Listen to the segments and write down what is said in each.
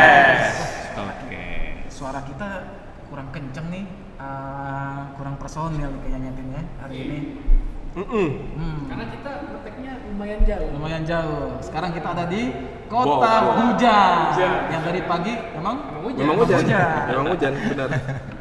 Eh, Mm-mm. Hmm, Karena kita ngeteknya lumayan jauh. lumayan jauh. Sekarang kita ada di Kota Bogor. Hujan. Hujan. Yang dari pagi Ya, memang Emang hujan. Memang hujan, hujan. memang hujan, benar.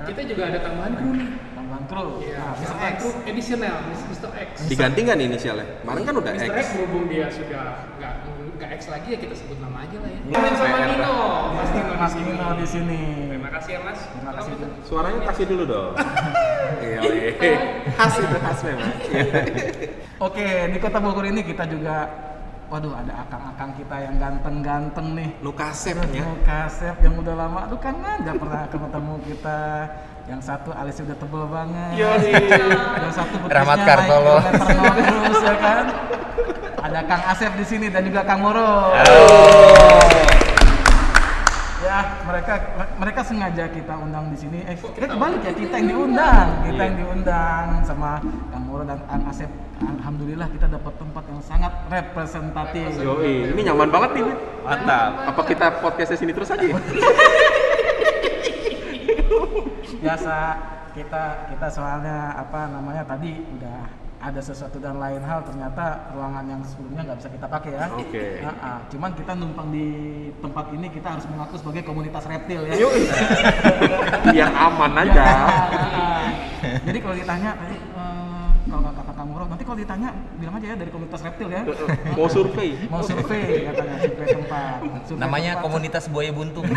Kita juga ada tambahan kru nih. tambahan kru. Iya, Nah, Mr. Mr. X. X. Edisional, Mr. X. Diganti nggak nih inisialnya? Kemarin kan udah X. Mr. X berhubung dia sudah nggak nggak X lagi ya kita sebut nama aja lah ya. Hmm. Komen sama PR. Nino, Mas Nino Mas di sini. Nino di sini. Terima kasih ya Mas. Terima kasih Tolong juga. Suaranya kasih dulu dong. Iya, iya. khas itu khas memang. Iya. Oke, di Kota Bogor ini kita juga waduh ada akang-akang kita yang ganteng-ganteng nih. Nukasep ya. Yang kasep yang udah lama aduh kan nggak pernah ketemu kita. Yang satu alisnya udah tebel banget. Yang satu betisnya Rahmat naik Kartolo. kilometer nol terus ya kan. Ada Kang Asep di sini dan juga Kang Moro. Ya, mereka mereka sengaja kita undang di sini. Eh, eh kebalik ya, kita yang diundang, kita yang diundang sama Kang Moro dan Kang Asep. Alhamdulillah kita dapat tempat yang sangat representatif. Yoi, ini nyaman banget nih. Win. Mantap. Apa kita podcastnya sini terus aja? ya? Biasa kita kita soalnya apa namanya tadi udah ada sesuatu dan lain hal ternyata ruangan yang sebelumnya nggak bisa kita pakai ya. Oke. Nah, ah, cuman kita numpang di tempat ini kita harus mengaku sebagai komunitas reptil ya. Yoi. Biar aman aja. Ya. Jadi kalau ditanya tadi eh, kalau nggak kata Kang Muro, nanti kalau ditanya bilang aja ya dari komunitas reptil ya. Mau survei. Mau survei katanya, survei tempat. Survei Namanya tempat. komunitas buaya buntung.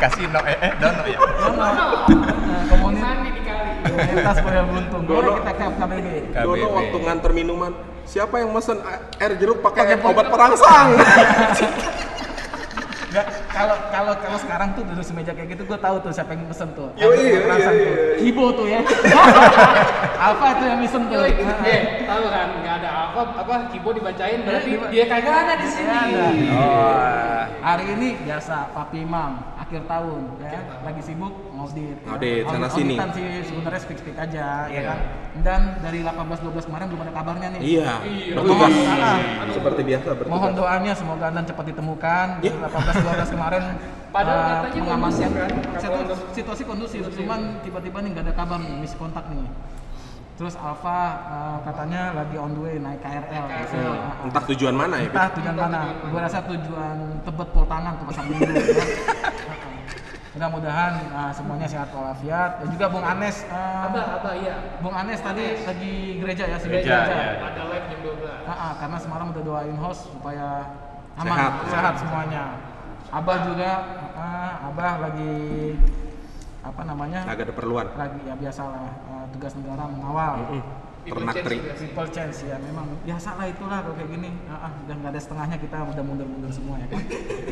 Kasih no eh, eh dono ya. Dono. Nah, Mas komunitas Sandi dikali. komunitas buaya buntung. Boleh Dono. kita ke KBB. Dono KBB. waktu nganter minuman, siapa yang mesen air jeruk pakai Pakai pol- obat perangsang? Nggak, kalau kalau kalau sekarang tuh duduk semeja kayak gitu gue tahu tuh siapa yang pesen tuh. Yoi, Yang yoi, perasan yoi, tuh. yoi. Hibo tuh ya. Apa tuh yang pesen tuh? Yoi, Nah, eh, tahu kan nggak ada apa apa kibo dibacain berarti dia kagak ada di sini. Nggak ada. Oh. Hari ini biasa Papi Imam akhir tahun ya lagi sibuk ngaudit. ya. Ngaudit, sana sini. Auditan sih sebenarnya speak speak aja ya kan. Dan dari 18 12 kemarin belum ada kabarnya nih. Iya. Iya. Bertugas. Iya. Seperti biasa bertugas. Ya. Mohon doanya semoga Anda cepat ditemukan. Dari 18 12 kemarin Padahal eh, katanya mengamati kondusif kan, Kapolres. Situ- situasi kondusif, cuman tiba-tiba nih nggak ada kabar nih, miss kontak nih. Terus Alfa eh, katanya lagi on the way naik KRL. Hmm. Nah, Entah tujuan mana ya. entah tujuan mana gua rasa tujuan tebet pol tangan ke pasar minggu ya. mudah-mudahan uh, semuanya sehat walafiat dan juga Bung Anes uh, Abah, abah iya. Bung Anes tadi lagi gereja ya sebelum Gereja, ya. Ada live jam 12. Ah, ah, karena semalam udah doain host supaya aman Sehat. sehat, semuanya Abah juga ah, Abah lagi apa namanya Agak ada perluan. lagi ya biasalah uh, tugas negara mengawal Ternak teri. People change juga sih. People chance ya memang biasa lah itulah kalau kayak gini ah, ah, udah nggak ada setengahnya kita udah mundur-mundur semua ya kan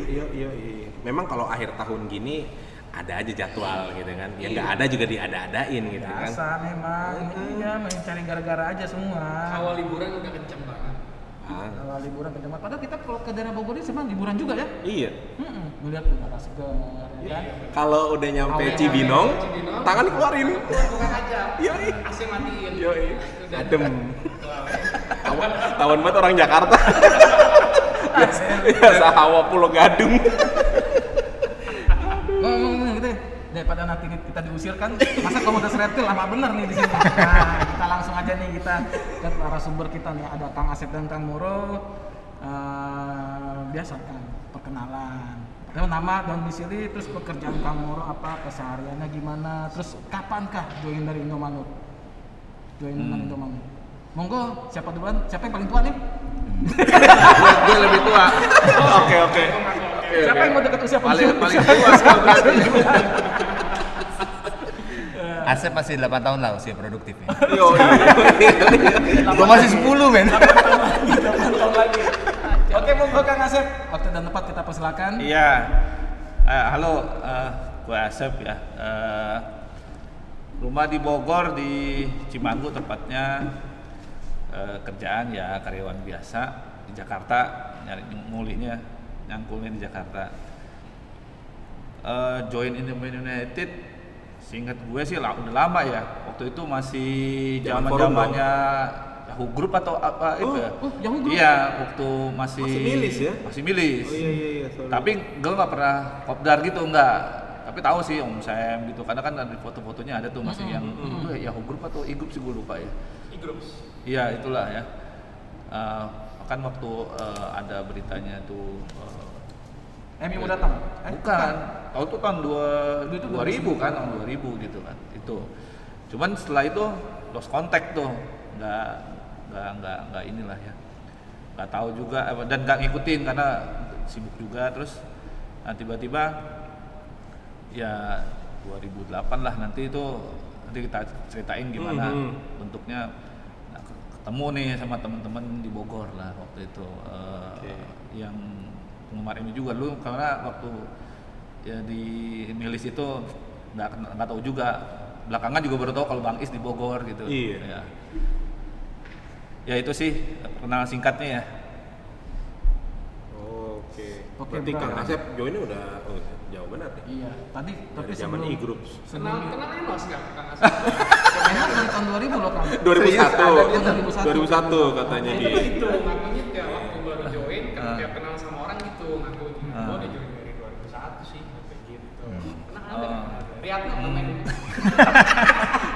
Iya, iya, iya. Memang kalau akhir tahun gini ada aja jadwal gitu kan. Ya nggak ada juga diada-adain gitu kan. biasa memang iya mencari gara-gara aja semua Awal liburan udah kenceng banget. Ah, awal liburan ke tempat padahal kita kalau ke daerah Bogor ini sebenarnya liburan juga ya iya. Mm-mm, melihat udara segar ya kan Kalau udah nyampe Awalnya Cibinong, nyampe Cibinong, tangan keluarin. Bukan aja. Yoi. AC matiin. Yoi. Udah. iya. Adem. Tawan, tawan banget orang Jakarta. Biasa hawa Pulau Gadung. ngomong gitu ya, daripada nanti kita diusir kan masa komunitas reptil lama bener nih di sini nah, kita langsung aja nih kita ke narasumber kita nih ada Kang Asep dan Kang Moro Eh, biasa kan perkenalan Lalu nama dan domisili terus pekerjaan Kang Moro apa kesehariannya gimana terus kapankah join dari Indomanut join dari Indomanut monggo siapa duluan siapa yang paling tua nih Dia lebih tua. Oke, oke. siapa yang mau deket usia Paling pensiun paling tua. siapa? Asep masih 8 tahun lah usia produktifnya. Gua masih 10 men. oke monggo Kang Asep waktu dan tempat kita persilakan kan? Iya. Eh, halo, eh, gue Asep ya. Eh, rumah di Bogor di Cimanggu tepatnya. Eh, kerjaan ya karyawan biasa di Jakarta nyari ngulihnya nyangkulnya di Jakarta. Eh, join Indonesia United seingat gue sih lah, udah lama ya waktu itu masih Jangan zaman forum dong. zamannya Yahoo Group atau apa itu ya? oh, Yahoo Group. Iya, waktu masih Masih milis ya? Masih milis. iya, iya, Tapi gue nggak pernah kopdar gitu nggak. Tapi tapi tahu sih Om Sam gitu karena kan ada foto-fotonya ada tuh masih yang itu ya Yahoo Group atau e-group sih gue lupa ya iya itulah ya Eh, kan waktu eh, ada beritanya tuh eh, Emi mau datang? Eh, bukan tahun itu tahun dua, Itu 2000 kan tahun 2000 gitu kan itu cuman setelah itu lost contact tuh nggak nggak nggak nggak inilah ya nggak tahu juga eh, dan nggak ngikutin karena sibuk juga terus nah, tiba-tiba ya 2008 lah nanti itu nanti kita ceritain gimana Mhm. bentuknya Nah, ke- ketemu nih sama teman-teman di Bogor lah waktu itu Eh, Oke. yang penggemar ini juga dulu karena waktu ya, di milis itu nggak kena- nggak tahu juga belakangan juga baru tahu kalau Bang Is di Bogor gitu Iya. ya. ya itu sih perkenalan singkatnya ya Oke. Oke, Berarti Bra. Kang Asep jauh ini udah oh, jauh benar nih. Iya. Tadi tapi Dari zaman sebelum e-groups. Kenal sebelum kenal Enos nggak Kang Asep? Enak dari tahun 2000 loh kamu. 2001. 2001. 2001 katanya Nah, di. Iya. itu gitu ngakunya tiap waktu baru join kan tiap kenal sama orang gitu ngakunya Ah. gue udah join dari 2001 sih kayak gitu pernah ada Oh. Riyadno komen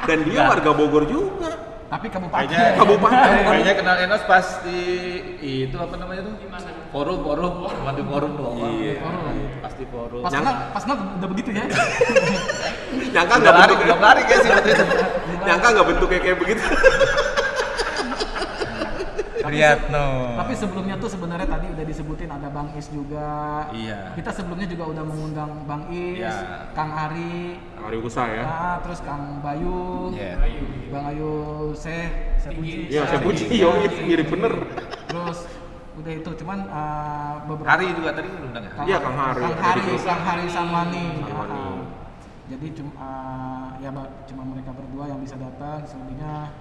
Dan dia Nah. warga Bogor juga. Tapi kabupaten. kayaknya Kabupaten. kayaknya kenal Enos pas di itu apa namanya tuh Gimana? forum forum cuma di forum doang Iya. pas di forum Pas Yang- kenal, pas kenal udah begitu ya. Nyangka udah nggak lari bentuk- udah lari ya sih Putri. Nyangka nggak bentuknya kayak begitu. Riyadno. Tapi sebelumnya tuh sebenarnya tadi udah disebutin ada Bang Is juga. Iya. Kita sebelumnya juga udah mengundang Bang Is, Iya. Kang Ari, Mari usah ya. ah, terus Kang Bayu, Iya. Bang Ayu Seh, Seh Puji. Iya, saya puji. Yo, mirip bener. Terus udah itu cuman ah, beberapa hari juga tadi lu undang Oh. ya Iya, Kang Hari. Kang Hari, Kang Hari Samwani. Samwani. Ah, jadi cuma ah, ya Mbak, cuma mereka berdua yang bisa datang, selebihnya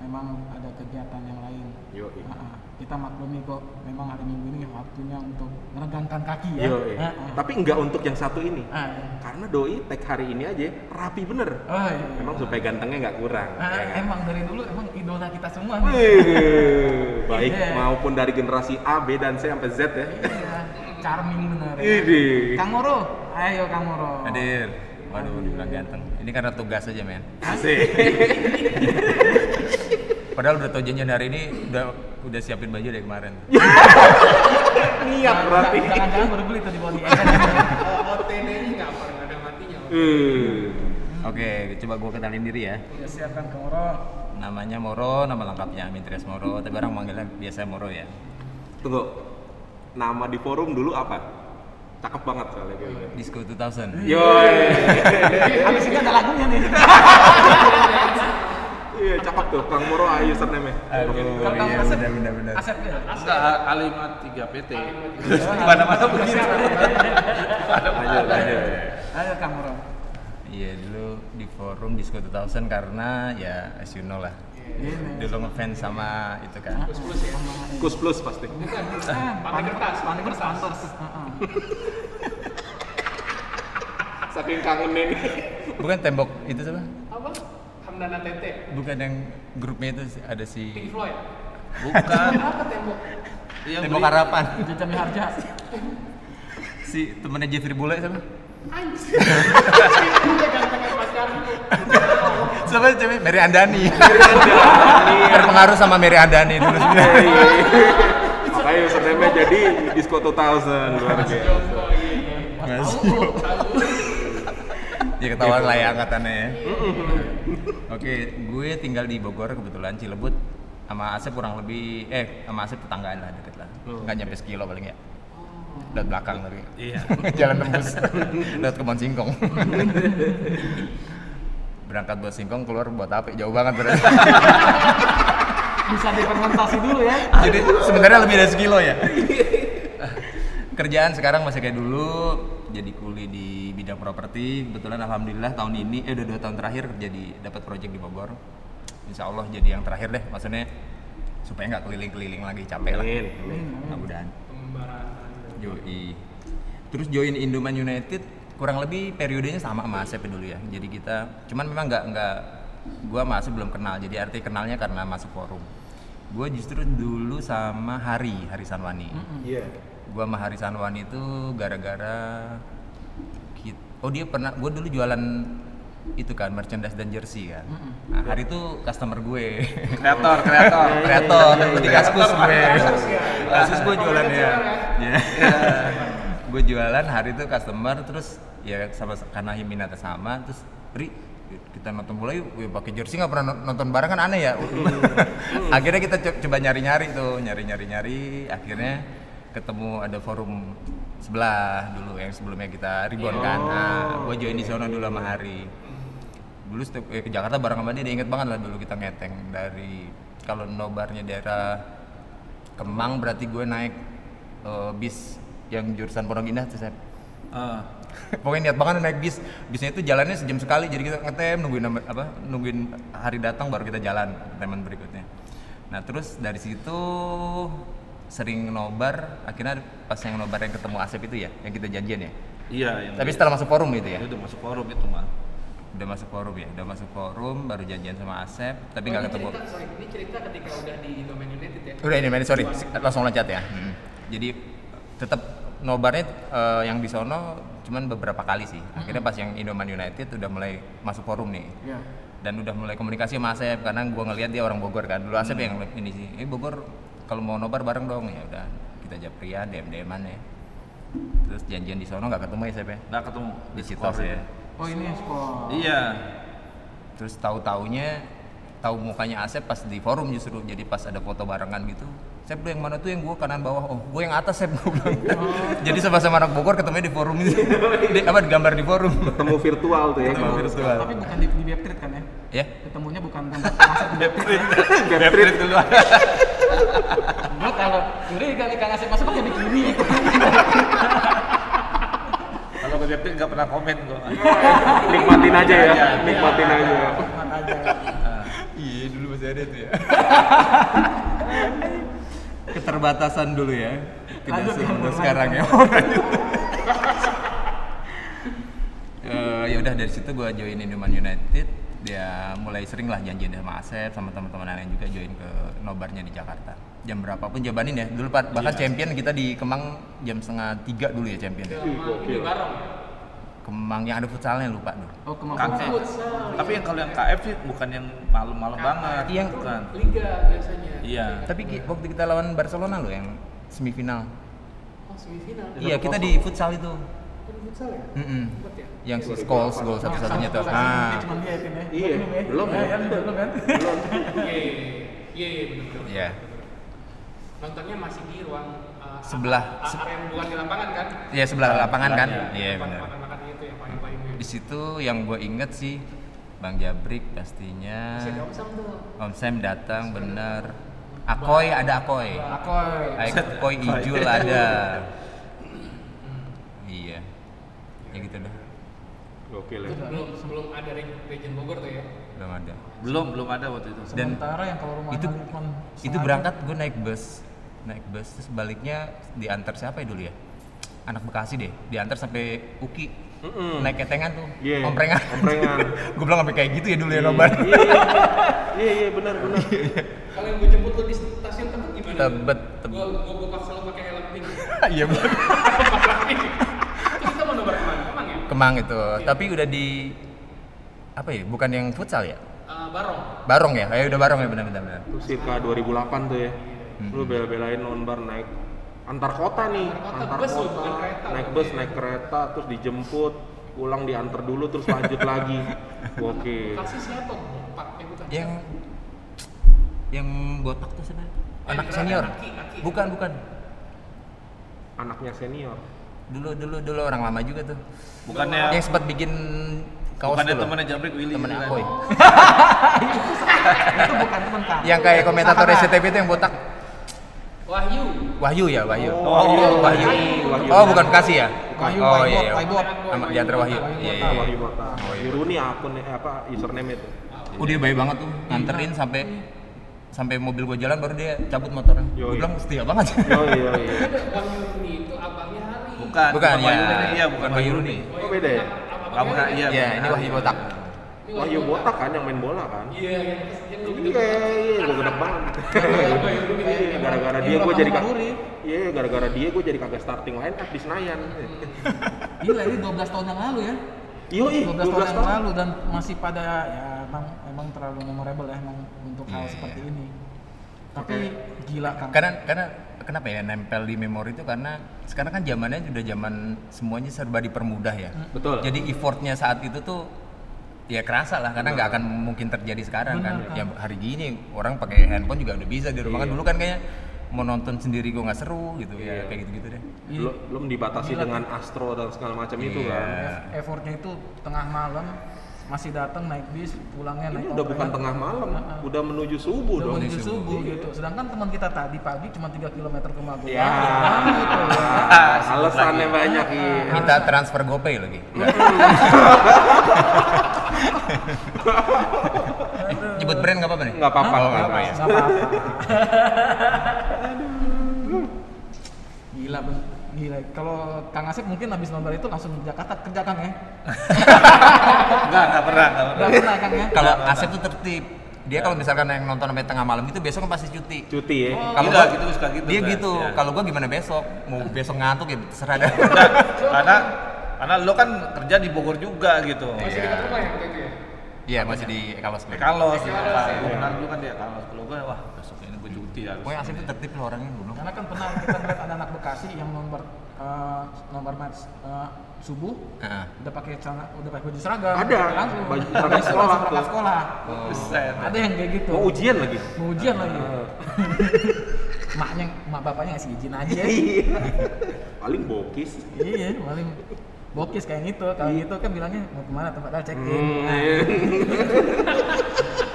memang ada kegiatan yang lain. Yo, eh. Ah, ah. kita maklumi kok memang hari Minggu ini waktunya untuk meregangkan kaki ya. yo. eh. Ah, ah. Tapi nggak untuk yang satu ini. Ah, iya. Karena doi tag hari ini aja rapi bener. Oh, iya. Emang supaya gantengnya nggak kurang. Ah, ya kan? emang dari dulu emang idola kita semua nih. Wih, baik Iya. maupun dari generasi A, B dan C sampai Z ya. Iya, charming bener. Ini. Kang Moro, ayo Kang Moro. Hadir. Waduh, dibilang ganteng. Ini karena tugas aja, men. Asik. Padahal udah tau janjian hari ini udah udah siapin baju dari kemarin. Ya. Niat berarti. Jangan-jangan baru beli tuh di Body OTD nya nggak pernah ada matinya Eh, Oke, coba gua kenalin diri ya. Ya siapkan Kang Moro. Namanya Moro, nama lengkapnya Amin Trias Moro, tapi orang manggilnya biasa Moro ya. Tunggu. Nama di forum dulu apa? Cakep banget soalnya gue. liat. Disco 2000. Yoi. Habis ini ada lagunya nih. Iya, cakep tuh Kang Moro ayo username Aduh, Kang iya Asep. benar benar benar. Asep ya. enggak alimat 3 PT mana-mana begitu Lanjut, lanjut. Ayo Kang Moro. Iya dulu di forum Disco 2000 karena ya as you know lah. Iya, Ini. Dulu ngefans sama itu kan. Kus plus pasti. Panik kertas, panik kertas. Heeh. Saking kangennya nih. Bukan tembok itu apa? apa Hamdana Tete Bukan yang grupnya itu si- ada Pink si Floyd bukan apa tembok Yang Tembok beli- Harapan. Jajan Harja. Si temennya Jeffrey Bule siapa? anjir udah gantengnya pacar lu Siapa Iya. sih cewek? Mary Andani. Terpengaruh sama Mary Andani dulu sebenarnya. Makanya username jadi Disco 2000 luar biasa. Masih. ya ketahuan lah ya angkatannya ya. Oke, gue tinggal di Bogor kebetulan Cilebut sama Asep kurang lebih eh sama Asep tetanggaan lah deket lah. Enggak nyampe sekilo paling ya. Lewat belakang tapi. Iya. Jalan tembus. Lewat kebun singkong. Berangkat buat singkong keluar buat apa? Jauh banget berarti. Bisa difermentasi dulu ya. Jadi sebenarnya lebih dari sekilo ya. Kerjaan sekarang masih kayak dulu, jadi kuli di bidang properti. Kebetulan alhamdulillah tahun ini, eh udah dua tahun terakhir kerja di dapat proyek di Bogor. Insya Allah jadi yang terakhir deh, maksudnya supaya nggak keliling-keliling lagi capek lah. Amin. Mudah-mudahan. Yoi. Terus join Indoman United kurang lebih periodenya sama sama Asep dulu ya. Jadi kita cuman memang nggak nggak gua sama Asep belum kenal. Jadi arti kenalnya karena masuk forum. Gua justru dulu sama Hari, Hari Sanwani. Iya. Gua sama Hari Sanwani itu gara-gara kit- oh dia pernah gue dulu jualan itu kan merchandise dan jersey kan nah, hari itu customer gue kreator kreator kreator seperti kaskus gue kaskus gue jualan ya gue jualan hari itu customer terus ya sama karena minatnya sama terus Ri kita nonton bola yuk Wih, pakai jersey nggak pernah nonton bareng kan aneh ya akhirnya kita co- coba nyari nyari tuh nyari nyari nyari akhirnya ketemu ada forum sebelah dulu yang sebelumnya kita ribon kan gue join di sono dulu sama Hari dulu setiap eh, ke Jakarta bareng sama dia, dia inget banget lah dulu kita ngeteng dari kalau nobarnya daerah Kemang berarti gue naik eh, bis yang jurusan Pondok Indah tuh Sep. Eh, pokoknya niat banget naik bis bisnya itu jalannya sejam sekali jadi kita ngetem nungguin nama- apa nungguin hari datang baru kita jalan ke teman berikutnya nah terus dari situ sering nobar akhirnya pas yang nobar yang ketemu Asep itu ya yang kita janjian ya iya yang tapi setelah masuk forum gitu ya itu udah masuk forum itu mah udah masuk forum ya udah masuk forum baru janjian sama Asep tapi nggak ketemu Cerita, sorry, ini cerita ketika udah di Indomain United ya. udah ini men, sorry si- langsung loncat ya Hmm. jadi tetap nobarnya eh, yang di sono cuman beberapa kali sih akhirnya pas yang Indoman United udah mulai masuk forum nih Iya. dan udah mulai komunikasi sama Asep karena gua ngelihat dia orang Bogor kan dulu Asep yang ini sih eh Bogor kalau mau nobar bareng dong ya udah kita japria dm dman ya terus janjian di sono nggak ketemu ya Asep ya nggak ketemu di situ skor ya Oh ini yang skor. iya terus tahu taunya tahu mukanya Asep pas di forum justru jadi pas ada foto barengan gitu Sep lu yang mana tuh yang gua kanan bawah oh gue yang atas Sep gue bilang jadi sama-sama anak Bogor ketemunya di forum ini di, apa gambar di forum Ketemu virtual tuh ya. Ketemu kalau- virtual. Tapi bukan di, di Beptrit kan ya? ya Ketemunya bukan tempat aset di Beptrit. Beprit dulu Gue Nah, kalau Yuri kali Kang Asep masuk pakai bikini. kalau ke Beprit nggak pernah komen kok Nikmatin aja ya, Iya, nikmatin aja. Mana aja. iya dulu masih ada tuh ya keterbatasan dulu ya tidak Lanjut, semudah lanjut. sekarang ya Eh, ya udah dari situ gue join Indoman United dia mulai sering lah janjian sama Asep sama teman-teman lain juga join ke nobarnya di Jakarta jam berapapun jabanin ya dulu pa- Iya. bahkan champion kita di Kemang jam setengah tiga dulu ya champion Sama ini bareng. ya? Kemang yang ada futsalnya lupa dulu Oh kemampuan. KF. tapi yang kalau yang KF sih bukan yang malam-malam banget Iya, Yang- bukan Liga biasanya. iya tapi ki- waktu kita lawan Barcelona loh yang semifinal Oh, semifinal. iya kita di futsal itu Kan futsal ya? Mm-mm. Cepet ya? yang si goals gol satu-satunya tuh ah Cuma Nah, dia itu ya. Iya, belum ya. kan, Belum kan? Iya, iya, iya, iya, bener, bener. ya Nontonnya masih di ruang uh, Sebelah. a- area yang bukan di lapangan kan? ya sebelah lapangan kan iya Tempat benar Makan-makan itu yang payung-payungnya. di situ yang gue inget sih Bang Jabrik pastinya Masih ada Omsam tuh. Om Sam datang bener Akoy ada Akoy Akoy. Akoy Ijul ada iya ya gitu deh Gokil ya. Itu belum sebelum ada Re- Region Bogor tuh ya. belum ada belum belum ada waktu itu Dan Sementara yang kalau rumah itu itu berangkat gue naik bus naik bus terus baliknya diantar siapa ya dulu ya anak Bekasi deh diantar sampai Uki naik ketengan tuh Iya. omprengan Omprengan. gue bilang sampai kayak gitu ya dulu ya nobar Iya, iya, Iya, iya, benar, benar. Kalau yang gue jemput lo di stasiun Tebet gimana? Tebet, Tebet. Gue gue buka selalu pakai helm pink. iya bener. Terus kita mau nobar kemana? Emang ya? Kemang itu tapi udah di apa ya bukan yang futsal ya Eh, barong. barong ya kayak udah barong ya benar-benar benar. Itu circa 2008 tuh ya. Lu bela-belain nonbar naik antar kota nih, kota, antar bus loh, kota, bukan kereta. naik bus, naik kereta, terus dijemput, pulang diantar dulu, terus lanjut lagi. Gokil. Kasih siapa? Pak, eh bukan. yang yang botak tuh sana anak beneran, senior Eh, aki, aki. bukan bukan Anaknya senior. dulu dulu dulu orang lama juga tuh bukannya yang sempat bikin kaos bukannya dulu. temennya Jabrik Willy temen gitu kan. Akoy Ah, iya. itu bukan teman kan. yang kayak komentator SCTV itu yang botak Wahyu. Wahyu ya Wahyu Oh, Wahyu Wahyu. oh bukan Bekasi ya Wahyu, oh Wahyu, iya iya Wahyu. sama di antara Wahyu iya iya Apa iya. ibu kota? Iruni akunnya eh, apa username itu? oh dia baik banget tuh Iya. nganterin sampai sampai mobil gua jalan baru dia cabut motornya Yoi. gua bilang setia banget Oh iya iya. Wahyu ini itu abangnya Hari. bukan bukan Wahyu ya Rudi. iya bukan Wahyu Rudi Oh beda ya? Abangnya Kamu nggak- Hari. iya ya ini Wahyu botak Wahyu Botak kan yang main bola kan? Iya, yang yang lu gitu. Iya, iya, gue gede banget. Iya, Gara-gara dia gue jadi kagak. Iya, gara-gara dia gue jadi kagak starting line up di Senayan. Gila ini 12 tahun yang lalu ya. Iya, ih, 12 tahun yang lalu dan masih pada ya emang emang terlalu memorable ya emang untuk hal Iya, seperti ini. Tapi gila kan. karena karena kenapa ya nempel di memori itu karena sekarang kan zamannya sudah zaman semuanya serba dipermudah ya Hmm, Betul. jadi effortnya saat itu tuh ya kerasa lah karena nggak akan mungkin terjadi sekarang Benar, kan ya hari gini orang pakai handphone juga udah bisa di rumah kan dulu kan kayaknya mau nonton sendiri gua nggak seru gitu ya Iya. kayak gitu gitu deh Belum belum dibatasi dengan Astro dan segala macam itu kan. Iya. Effortnya itu tengah malam masih datang naik bis pulangnya Ini naik udah bukan operet. tengah malam, Heeh. udah menuju subuh udah dong. menuju Menuju subuh gitu. Sedangkan teman kita tadi pagi cuma 3 km ke Magelang. Ya, Nah, gitu. alasannya banyak iya. minta transfer gopay lagi Eh, nyebut brand nggak apa-apa nih Nggak apa-apa, Oh, nggak nggak apa-apa ya Gak apa-apa. Gila, Ben. Gila. Kalau Kang Asep mungkin habis nonton itu langsung ke Jakarta kerja Kang ya. Enggak, enggak pernah, enggak Udah pernah. pernah Kang ya. kalau Asep tuh tertib dia kalau misalkan yang nonton sampai tengah malam itu besok kan pasti cuti Cuti ya. kalau Gila, gua- gitu, suka gitu, dia Bang. gitu Ya. kalau gua gimana besok mau besok ngantuk ya terserah dah Nah, karena karena lo kan kerja di Bogor juga gitu. Masih dekat rumah ya waktu itu ya? iya masih di kalos Di pokoknya Kalos, di Kalos. Gue kenal juga kan dia Kalos. Kalau gue, wah besok ini gue cuti harus. Asep tuh tertib loh orangnya dulu Karena kan pernah kita lihat ada anak Bekasi yang nomor eh, nomor match eh, subuh Heeh. udah pakai celana udah pakai baju seragam Ada, langsung baju seragam Langsung sekolah berangkat tuh. sekolah Buset. ada yang kayak gitu Mau ujian lagi. mau ujian lagi maknya mak bapaknya ngasih izin aja Iya. Paling bokis. iya paling bokis kayak gitu kalau gitu kan bilangnya mau kemana tempat dal check in Hmm, Nah, iya.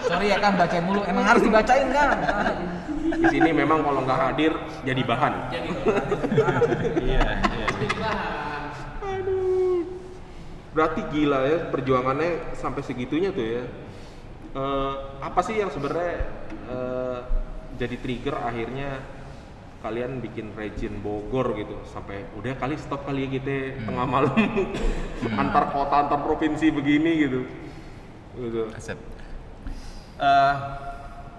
sorry ya kan bacain mulu emang harus dibacain kan Di sini memang kalau nggak hadir jadi bahan. Iya, iya. Berarti gila ya perjuangannya sampai segitunya tuh ya. Eh, apa sih yang sebenarnya eh, jadi trigger akhirnya kalian bikin region Bogor gitu sampai udah kali stop kali ya kita tengah malam antar kota antar provinsi begini gitu. Gitu. Asep Eh,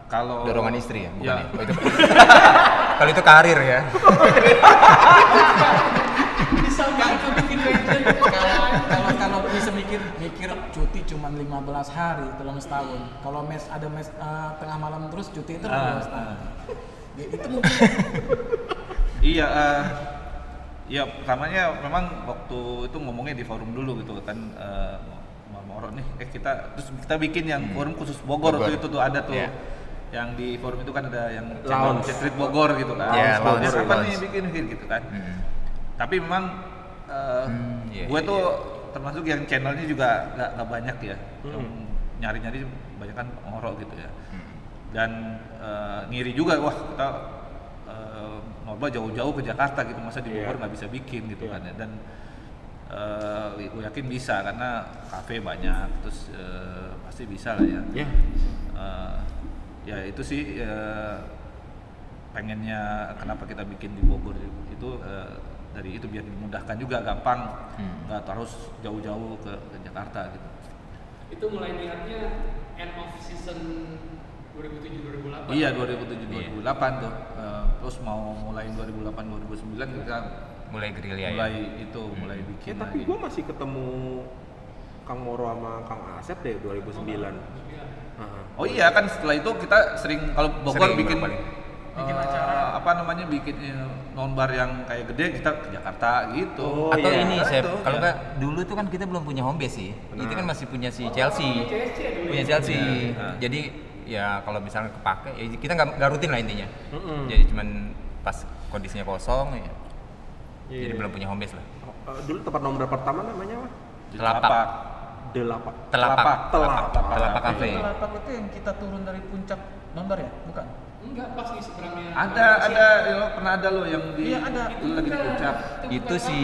kalau dorongan istri ya bukan Iya. ya, Oh, itu. kalau itu karir ya bisa nggak itu bikin legend kalau kalau kalau bisa mikir mikir cuti cuma 15 hari dalam setahun kalau mes ada mes eh, tengah malam terus cuti itu 15 tahun Ya, itu mungkin Iya, eh ya pertamanya memang waktu itu ngomongnya di forum dulu gitu kan eh, mau mau Moro nih, eh kita terus kita bikin yang forum khusus Bogor, Hmm. Bogor. waktu itu tuh ada tuh Iya. yang di forum itu kan ada yang Lounge. Street Bogor gitu kan, Iya, Bogor. lounge, Apa nih lounge. bikin bikin gitu kan, Hmm. tapi memang eh Hmm, iya, gue iya, tuh termasuk yang channelnya juga nggak nggak banyak ya, Hmm. yang nyari-nyari banyak kan Moro gitu ya Hmm. dan eh, ngiri juga wah kita eh, ngobrol jauh-jauh ke Jakarta gitu masa di Bogor Iya. nggak bisa bikin gitu Iya. kan ya dan eh, gue yakin bisa karena kafe banyak terus eh, pasti bisa lah ya Ya. Eh, ya itu sih eh, pengennya kenapa kita bikin di Bogor itu eh, dari itu biar dimudahkan juga gampang nggak terus jauh-jauh ke, ke Jakarta gitu Itu mulai niatnya end of season 2007-2008. Iya 2007 2008 tuh. Eh, terus mau mulai 2008 2009 kita mulai gerilya ya mulai itu mulai bikin Eh, tapi lagi. gue masih ketemu Kang Moro sama Kang Asep deh 2009. Heeh. Oh iya kan setelah itu kita sering kalau Bogor Sering bikin bolak-balik. bikin acara apa namanya bikin eh, nonbar yang kayak gede kita ke Jakarta gitu. Oh, atau iya. ini Nah, Sep, itu, kalau ya. nggak dulu tuh kan kita belum punya home base sih itu kan masih punya si Chelsea punya Chelsea Nah. jadi ya kalau misalnya kepake ya kita nggak nggak rutin lah intinya Mm-mm. jadi cuman pas kondisinya kosong ya jadi Iya. belum punya home base lah Eh, dulu tempat nomor pertama namanya apa? Di Telapak. Telapak. Delapak. telapak Telapak. telapak kafe lapak itu yang kita turun dari puncak nomor ya bukan Enggak, pas di seberangnya. Ada ada ya, lo pernah ada lo yang di Iya, ada. lo lagi di puncak. itu si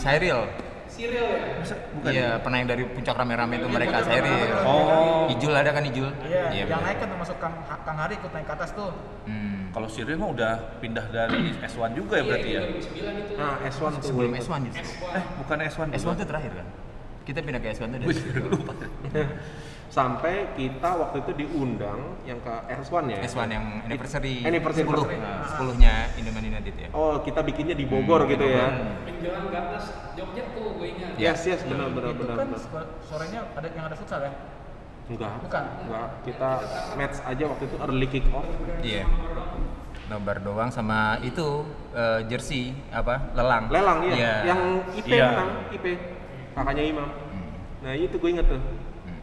Cyril Siril ya? Bukan. iya pernah yang dari puncak rame-rame itu mereka Cyril Oh. Ijul ada kan Ijul iya yang benar. naik kan termasuk Kang Kang Hari ikut naik ke atas tuh Hmm. Kalau Siril mah udah pindah dari S1 juga ya berarti ya. Nah, S1 tuh sebelum gua ikut. S1 justru Eh bukan S1. S1 itu terakhir kan kita pindah ke S1 itu dari Gue lupa. sampai kita waktu itu diundang yang ke S1 ya. S1 yang anniversary, Anniversary 10 first. Nah. 10-nya Indoman United ya. Oh, kita bikinnya di Hmm, Bogor gitu ya. Menjelang Garnas Jogja tuh gue ingat. Iya. Yes, yes, benar Ya. benar itu benar. kan benar. so- sorenya ada yang ada futsal ya? Enggak. Bukan. Enggak, kita match aja waktu itu early kick off. Iya. Nobar doang sama itu eh, jersey apa? Lelang. Iya. Lelang ya. Yang IP Iya. menang, IP. Kakaknya Imam. Hmm. Nah, itu gue inget tuh. Hmm.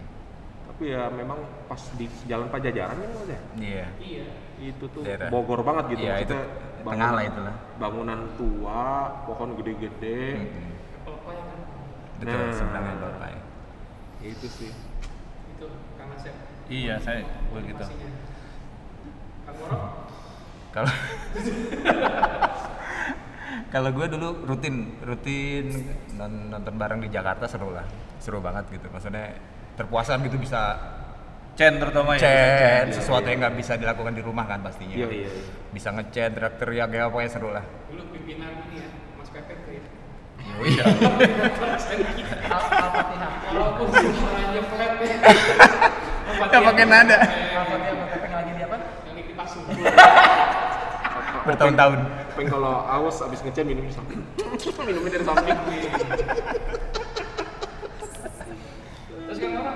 Tapi ya memang pas di jalan Pajajaran ya Mas ya. Iya. Itu tuh Daerah. Bogor banget gitu. Iya, itu Maksudnya tengah bangun- lah itulah. Bangunan tua, pohon gede-gede. Mm-mm. Apa yang Hmm. Betul, Nah. seberangnya Bapak ya. Itu sih. itu Kang Asep Iya, saya begitu. pastinya. Kang Moro Kalau Kalau gue dulu rutin rutin non- nonton bareng di Jakarta seru lah, seru banget gitu. Maksudnya terpuasan gitu bisa Chen terutama ya. Oh, iya, chat iya. sesuatu yang nggak bisa dilakukan di rumah kan pastinya. Iya, iya. iya. Bisa ngechat, teriak-teriak ya pokoknya seru lah. dulu pimpinan ini ya Mas Pepe tuh ya. Iya. Al- Al-Fatihah. Walaupun suaranya flat ya. Gak pakai nada. Al-Fatihah buat tapping lagi di apa? Yang ini dipasung dulu. Bertahun-tahun. Peng kalau aus abis ngechat minumnya samping. minumnya dari samping. Terus Kang Moro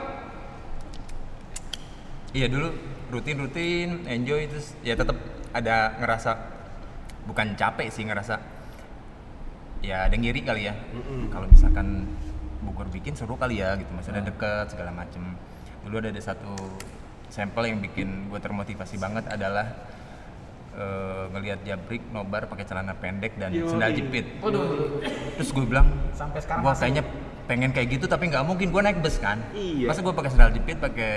Iya dulu rutin-rutin enjoy terus ya tetap ada ngerasa bukan capek sih ngerasa ya ada ngiri kali ya kalau misalkan Bogor bikin seru kali ya gitu maksudnya Ah. deket segala macem dulu ada, ada satu sampel yang bikin gue termotivasi banget adalah eh, ngelihat Jabrik nobar pakai celana pendek dan Yoi. sendal jepit Waduh. terus gue bilang Sampai sekarang gue masih. kayaknya pengen kayak gitu tapi nggak mungkin gue naik bus kan Iya. masa gue pakai sandal jepit pakai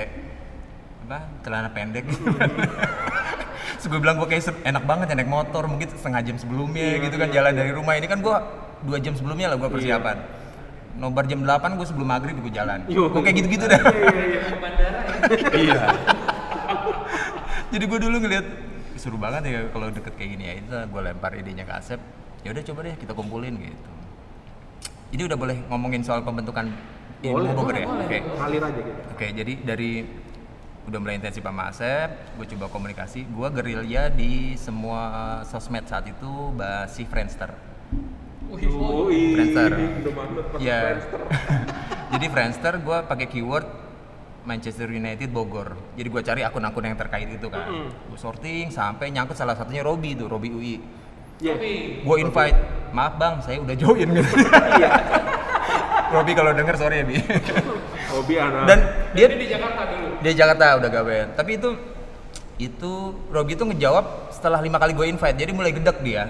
apa celana pendek terus gue bilang gue kayak ser- enak banget ya naik motor mungkin setengah jam Iya, sebelumnya gitu kan jalan dari rumah ini kan gue dua jam sebelumnya lah gue persiapan nobar jam 8 gue sebelum maghrib gue jalan Yo. gue kayak gitu-gitu dah Iya, ke bandara ya. Iya. jadi gue dulu ngeliat seru banget ya kalau deket kayak gini ya itu gue lempar idenya ke Asep ya udah coba deh kita kumpulin gitu ini udah boleh ngomongin soal pembentukan ilmu Boleh, Bogor ya boleh, oke Ngalir aja gitu. oke jadi dari udah mulai intensif sama Asep gue coba komunikasi gue gerilya di semua sosmed saat itu masih Friendster Yoi, Friendster. udah mantep pas ya Friendster. jadi Friendster gue pakai keyword Manchester United Bogor jadi gue cari akun-akun yang terkait itu kan gue sorting sampai nyangkut salah satunya Robi tuh Robi UI Iya. Tapi gue invite maaf bang saya udah join gitu Iya. Nah. Robi kalau denger sorry ya bi Hobi anak. dan dia ini di Jakarta dulu. dia Jakarta udah gawean tapi itu itu Robi tuh ngejawab setelah lima kali gue invite jadi mulai gedek dia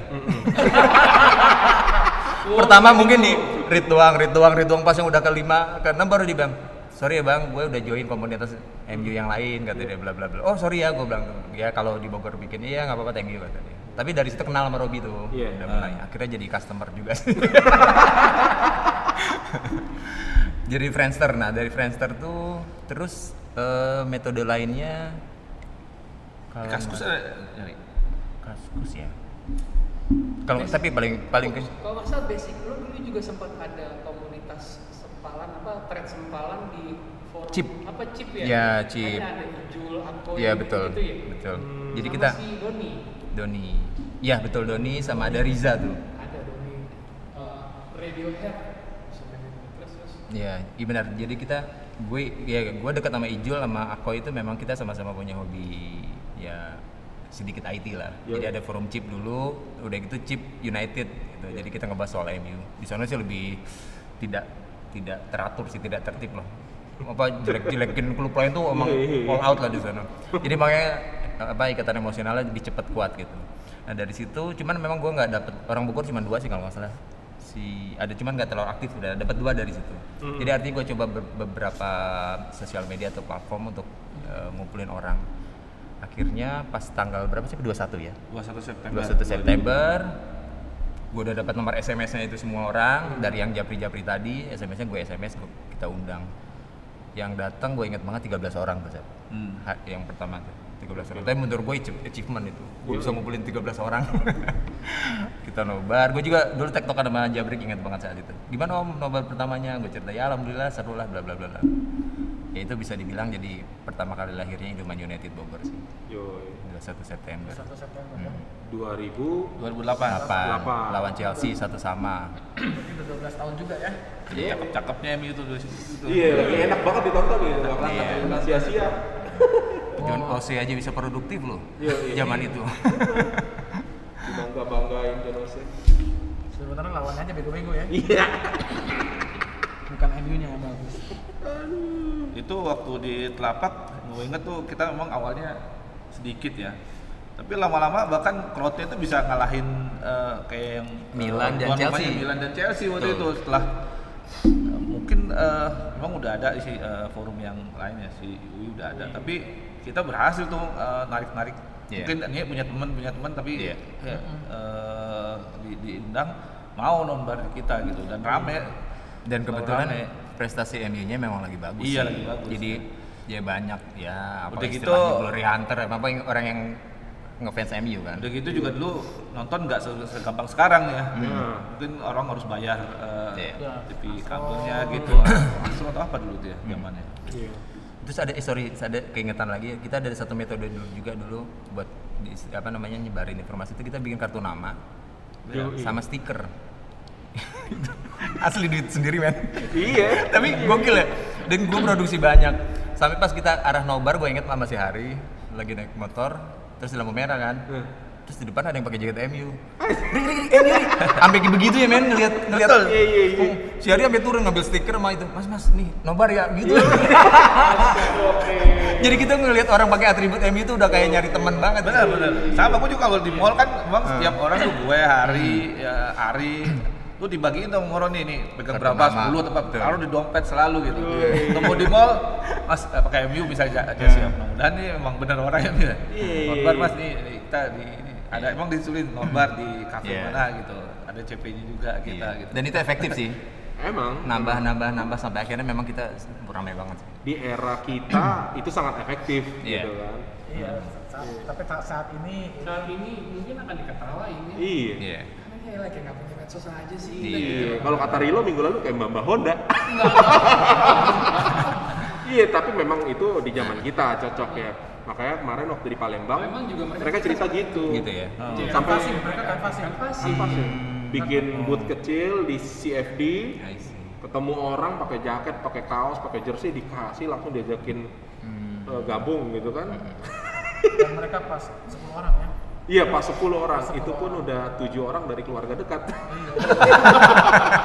pertama mungkin di read doang read doang read doang pas yang udah kelima keenam baru dia bilang sorry ya bang gue udah join komunitas MU yang lain kata dia bla bla bla oh sorry ya gue bilang ya kalau di Bogor bikin iya nggak apa-apa thank you kata dia tapi dari situ kenal sama Robi tuh Iya. udah mulai akhirnya jadi customer juga sih jadi Friendster nah dari Friendster tuh terus eh, metode lainnya kalau Kaskus nggak- ada nyari. kaskus ya kalau tapi paling paling ke- Kalau nggak salah basic lu dulu juga sempat ada komunitas sempalan apa thread sempalan di forum Chip. apa chip ya? Ya, chip. Ada, ada Ijul, Akko, Iya gitu- betul, gitu ya? betul. Hmm. Jadi Sama kita si Doni Doni, iya betul Doni sama ada Riza tuh. ada Doni eh, Radiohead sebenarnya. terus terus Iya, iya benar. Jadi kita gue ya gue dekat sama Ijul sama Ako itu memang kita sama-sama punya hobi ya sedikit IT lah. Yo. Jadi ada forum chip dulu, udah gitu chip United gitu. Jadi kita ngebahas soal MU. Di sana sih lebih tidak tidak teratur sih, tidak tertib loh. Apa jelek-jelekin klub lain tuh emang all out lah di sana. Jadi makanya apa ikatan emosionalnya lebih cepat kuat gitu. Nah dari situ cuman memang gue nggak dapet orang Bogor cuma dua sih kalau nggak salah si ada cuman nggak terlalu aktif udah dapat dua dari situ jadi artinya gue coba ber- beberapa sosial media atau platform untuk eh, ngumpulin orang akhirnya pas tanggal berapa sih 21 ya 21 September. 21 September gue udah dapat nomor SMS-nya itu semua orang dari yang japri-japri tadi SMS-nya gue SMS gua- kita undang yang datang gue inget banget 13 orang tuh Sep. Hmm. Ha- yang pertama tuh 13 orang tapi menurut gue achieve- achievement itu gue bisa ngumpulin 13 orang kita nobar gue juga dulu tektokan sama Jabrik ingat banget saat itu gimana om nobar pertamanya gue cerita ya alhamdulillah seru lah bla bla bla bla. ya itu bisa dibilang jadi pertama kali lahirnya Indoman United Bogor sih Yoi. 21 September 1 September ya. Hmm. 2000 2008 Lapan. 8 lawan Chelsea satu sama Berarti udah 12 tahun juga ya. jadi cakep-cakepnya MU itu dulu itu Iya, iya, enak banget ditonton gitu. Iya. Iya. Sia-sia. John Oh. Ose aja bisa produktif loh Iya, iya. zaman itu Dibangga banggain Jonose. Sebenarnya lawannya aja bego-bego ya. Iya. Bukan MU-nya yang bagus. itu waktu di telapak gue inget tuh kita memang awalnya sedikit ya tapi lama-lama bahkan crowd-nya itu bisa ngalahin eh, kayak yang eh, Milan dan tuan rumahnya Chelsea. Milan dan Chelsea waktu Betul. itu setelah eh, mungkin eh, memang udah ada sih eh, forum yang lainnya si UI udah ada tapi kita berhasil tuh eh, narik-narik Iya. mungkin ini punya teman punya teman tapi Iya. ya, eh, di- diundang mau nonbar di kita gitu dan rame Iya. dan kebetulan Rame. prestasi MU-nya memang lagi bagus Iya, sih. lagi bagus. jadi ya banyak ya apa Udah gitu- istilahnya glory hunter apa yang- orang yang ngefans MU kan Udah gitu juga dulu nonton nggak se- segampang sekarang ya. Hmm. Mungkin orang harus bayar eh, Iya. TV kabelnya Oh. gitu. Langsung atau apa dulu tuh ya zamannya. Iya. terus ada eh, sorry ada keingetan lagi kita ada satu metode dulu juga dulu buat di, apa namanya nyebarin informasi itu kita bikin kartu nama Yoi. sama stiker asli duit sendiri men Iya. tapi gokil ya dan gue produksi banyak sampai pas kita arah nobar gue inget sama si Hari lagi naik motor terus di lampu merah kan Hmm. terus di depan ada yang pakai jaket MU ring ring ring MU ring. sampai kayak begitu ya men ngelihat ngelihat Iya, iya, iya. Oh, si Hari sampai turun ngambil stiker sama itu mas mas nih nobar ya gitu Iya. jadi kita ngelihat orang pakai atribut MU itu udah kayak nyari teman banget Benar benar. Sama aku juga kalau di mall kan memang setiap orang tuh gue hari ya, Ari tuh dibagiin tuh ngoro nih nih pegang Kartu berapa nama. 10 tempat Betul. taruh di dompet selalu gitu. Temu di mall Mas eh, pakai MU bisa aja aja siap. Mudah-mudahan nih emang benar orang yang ya. Iya. Nobar Mas nih nih, kita di ini ada emang disulit nobar di kafe Iya. mana gitu. Ada CP-nya juga kita Iya. gitu. dan itu efektif sih Emang nambah nambah nambah sampai akhirnya memang kita ramai banget sih di era kita itu sangat efektif Iya. gitu kan. Iya. Saat- Tapi ta- saat ini Saat ini mungkin akan diketawain ya. Iya. iya Karena kayak lagi nggak punya medsos aja sih. Iya. Nah, gitu. Iya, kalau kata Rilo minggu lalu kayak Mbak Honda. Iya, tapi memang itu di zaman kita cocok ya. Makanya kemarin waktu di Palembang, Memang juga mereka- mereka cerita gitu. gitu ya Iya, Sampai- kanvasin, mereka kanvasin. Kanvasin. Apa sih? Bikin booth kecil di CFD, I see. ketemu orang pakai jaket, pakai kaos, pakai jersey dikasih langsung diajakin Hmm. eh, gabung gitu kan. dan mereka pas 10 orang ya. Iya, pas 10 orang, itu pun udah tujuh orang dari keluarga dekat.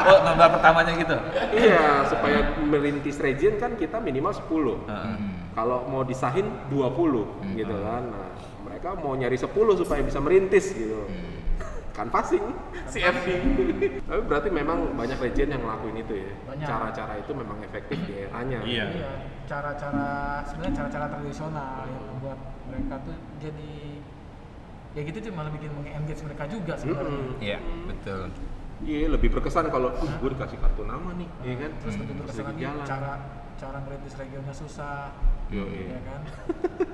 Oh, nobar pertamanya gitu. iya, supaya merintis region kan kita minimal 10. Heeh. kalau mau disahin 20 gitu kan nah mereka mau nyari 10 supaya bisa merintis gitu kan passing CFD tapi berarti memang banyak legend yang ngelakuin itu ya Banyak. cara-cara itu memang efektif di eranya Iya. Iya, cara-cara sebenarnya cara-cara tradisional yang membuat mereka tuh jadi ya gitu tuh malah bikin meng-engage mereka juga sebenarnya. Mm-mm. Iya, betul. Hmm. iya lebih berkesan kalau uh, gue dikasih kartu nama nih iya kan Terus Hmm, begitu terus kesana lagi nih jalan cara cara ngerintis regionnya susah, Yo, ya iya. kan?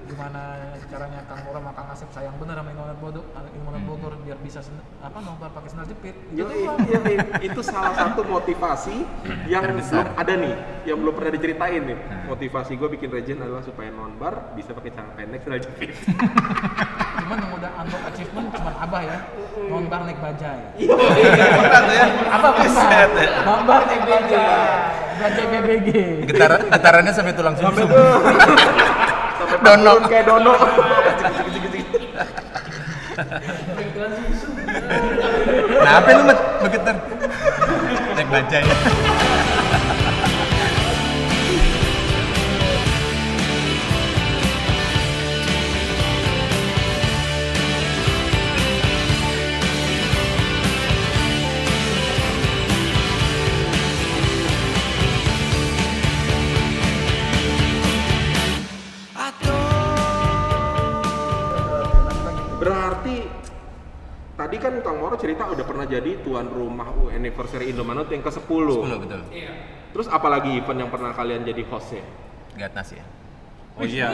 Gimana caranya Kang Mura sama Kang Asep sayang bener sama Indomaret Bogor, Indomaret Bogor biar bisa sen- apa nobar pakai sandal jepit. Yo, Gitu iya, doang. iya, iya. itu salah satu motivasi yang Terbesar. belum ada nih, yang belum pernah diceritain nih. Motivasi gue bikin region adalah supaya nonbar bisa pakai cara pendek sudah jepit. Cuman yang udah unlock achievement cuman Abah ya, nobar naik bajai. Berat ya. Apa besar? Nobar naik bajai. Bajai BBG. Getaran getarannya sampai tulang sampai sumsum. tuh sampai Dono. turun kayak dono Kebetulan sih, Su. Nah, apa lu met begetar? Cek baca ya. berarti tadi kan Kang Moro cerita udah pernah jadi tuan rumah U anniversary Indomanut yang ke 10 10 betul. Iya. terus apalagi event yang pernah kalian jadi hostnya Gatnas ya. Oh iya.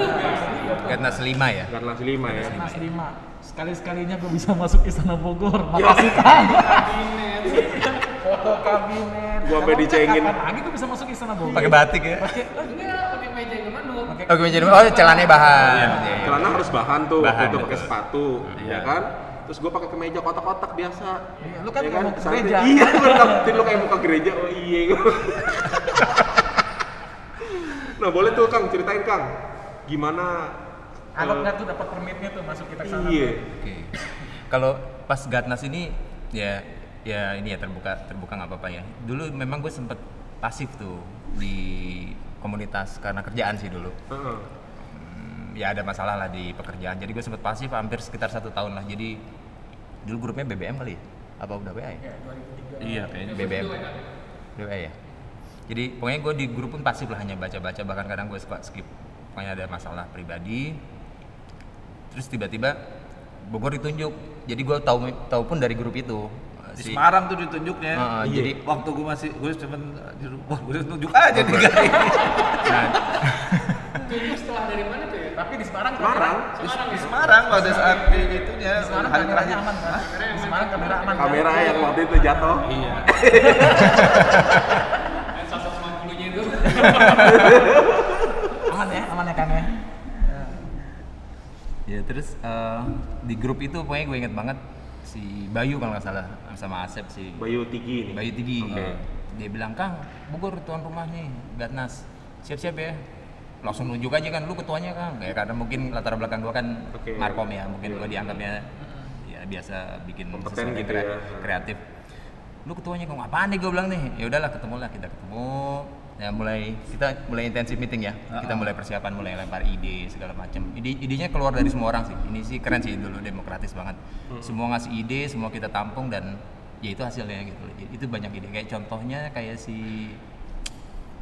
Gatnas 5 ya. Garnas 5 ya Mas Lima, sekali-sekalinya gue bisa masuk Istana Bogor. Makasih Kang. Foto kabinet. Gua sampai Kalau enggak, dicengin. kapan Lagi gue bisa masuk Istana Bogor. Pakai batik ya. Pakai- eh, Enggak, pakai meja Iya. Oh, gimana jadi? Oh, celananya bahan. Iya. Iya, iya. Celana harus bahan tuh, Bahan, waktu itu pakai betul. sepatu, Iya. ya kan? Terus gue pakai kemeja kotak-kotak biasa. Iya, lu kan Ya mau ke Santai. gereja. Iya, lu nakutin lu kayak mau ke gereja. Oh iya. gua. nah boleh tuh Kang ceritain Kang, gimana? Alot eh, nggak tuh dapat permitnya tuh masuk kita ke sana. Iya. Oke. Kalau pas Gatnas ini ya ya ini ya terbuka terbuka nggak apa-apa ya. Dulu memang gue sempet pasif tuh di komunitas karena kerjaan sih dulu. Heeh. Hmm, ya ada masalah lah di pekerjaan. Jadi gue sempet pasif hampir sekitar satu tahun lah. Jadi dulu grupnya BBM kali ya? Apa udah WA ya? Iya kayaknya. BBM. WA ya. Jadi pokoknya gue di grup pun pasif lah hanya baca-baca bahkan kadang gue suka skip. Pokoknya ada masalah pribadi. Terus tiba-tiba Bogor ditunjuk. Jadi gue tahu tahu pun dari grup itu. eh, Di Si- Semarang tuh ditunjuknya. Heeh, Iya. jadi Waktu gue masih gue cuman di rumah gue tunjuk aja tiga hari. nah, Tunjuk setelah dari mana tuh ya? Tapi di Semarang Semarang? Di, di Semarang pada saat di itunya Di Semarang hari kameranya terakhir. aman kan? Di Semarang kamera aman. kan? Kamera yang waktu itu jatuh. Iya. Yang 150 nya itu. aman ya, aman ya kan ya. Ya. ya terus eh, di grup itu pokoknya gue inget banget si Bayu kalau nggak salah sama Asep si Bayu Tigi nih. Bayu Tigi. Oke. Ah. Dia bilang, Kang, Bogor tuan rumah nih, Gatnas. Siap-siap ya. Langsung nunjuk aja kan, lu ketuanya Kang. Ya, karena mungkin latar belakang gua kan Oke. Iya, markom ya, mungkin gua dianggapnya ya biasa bikin Kompeten sesuatu yang gitu kre- ya. kreatif. Lu ketuanya Kang, apaan nih gua bilang nih. Ya udahlah ketemu lah, kita ketemu. Ya mulai kita mulai intensif meeting ya. Kita mulai persiapan, mulai lempar ide segala macam. Ide idenya keluar dari semua orang sih. Ini sih keren sih dulu demokratis banget. Hmm. Semua ngasih ide, semua kita tampung dan ya itu hasilnya gitu. Jadi Itu banyak ide. Kayak contohnya kayak si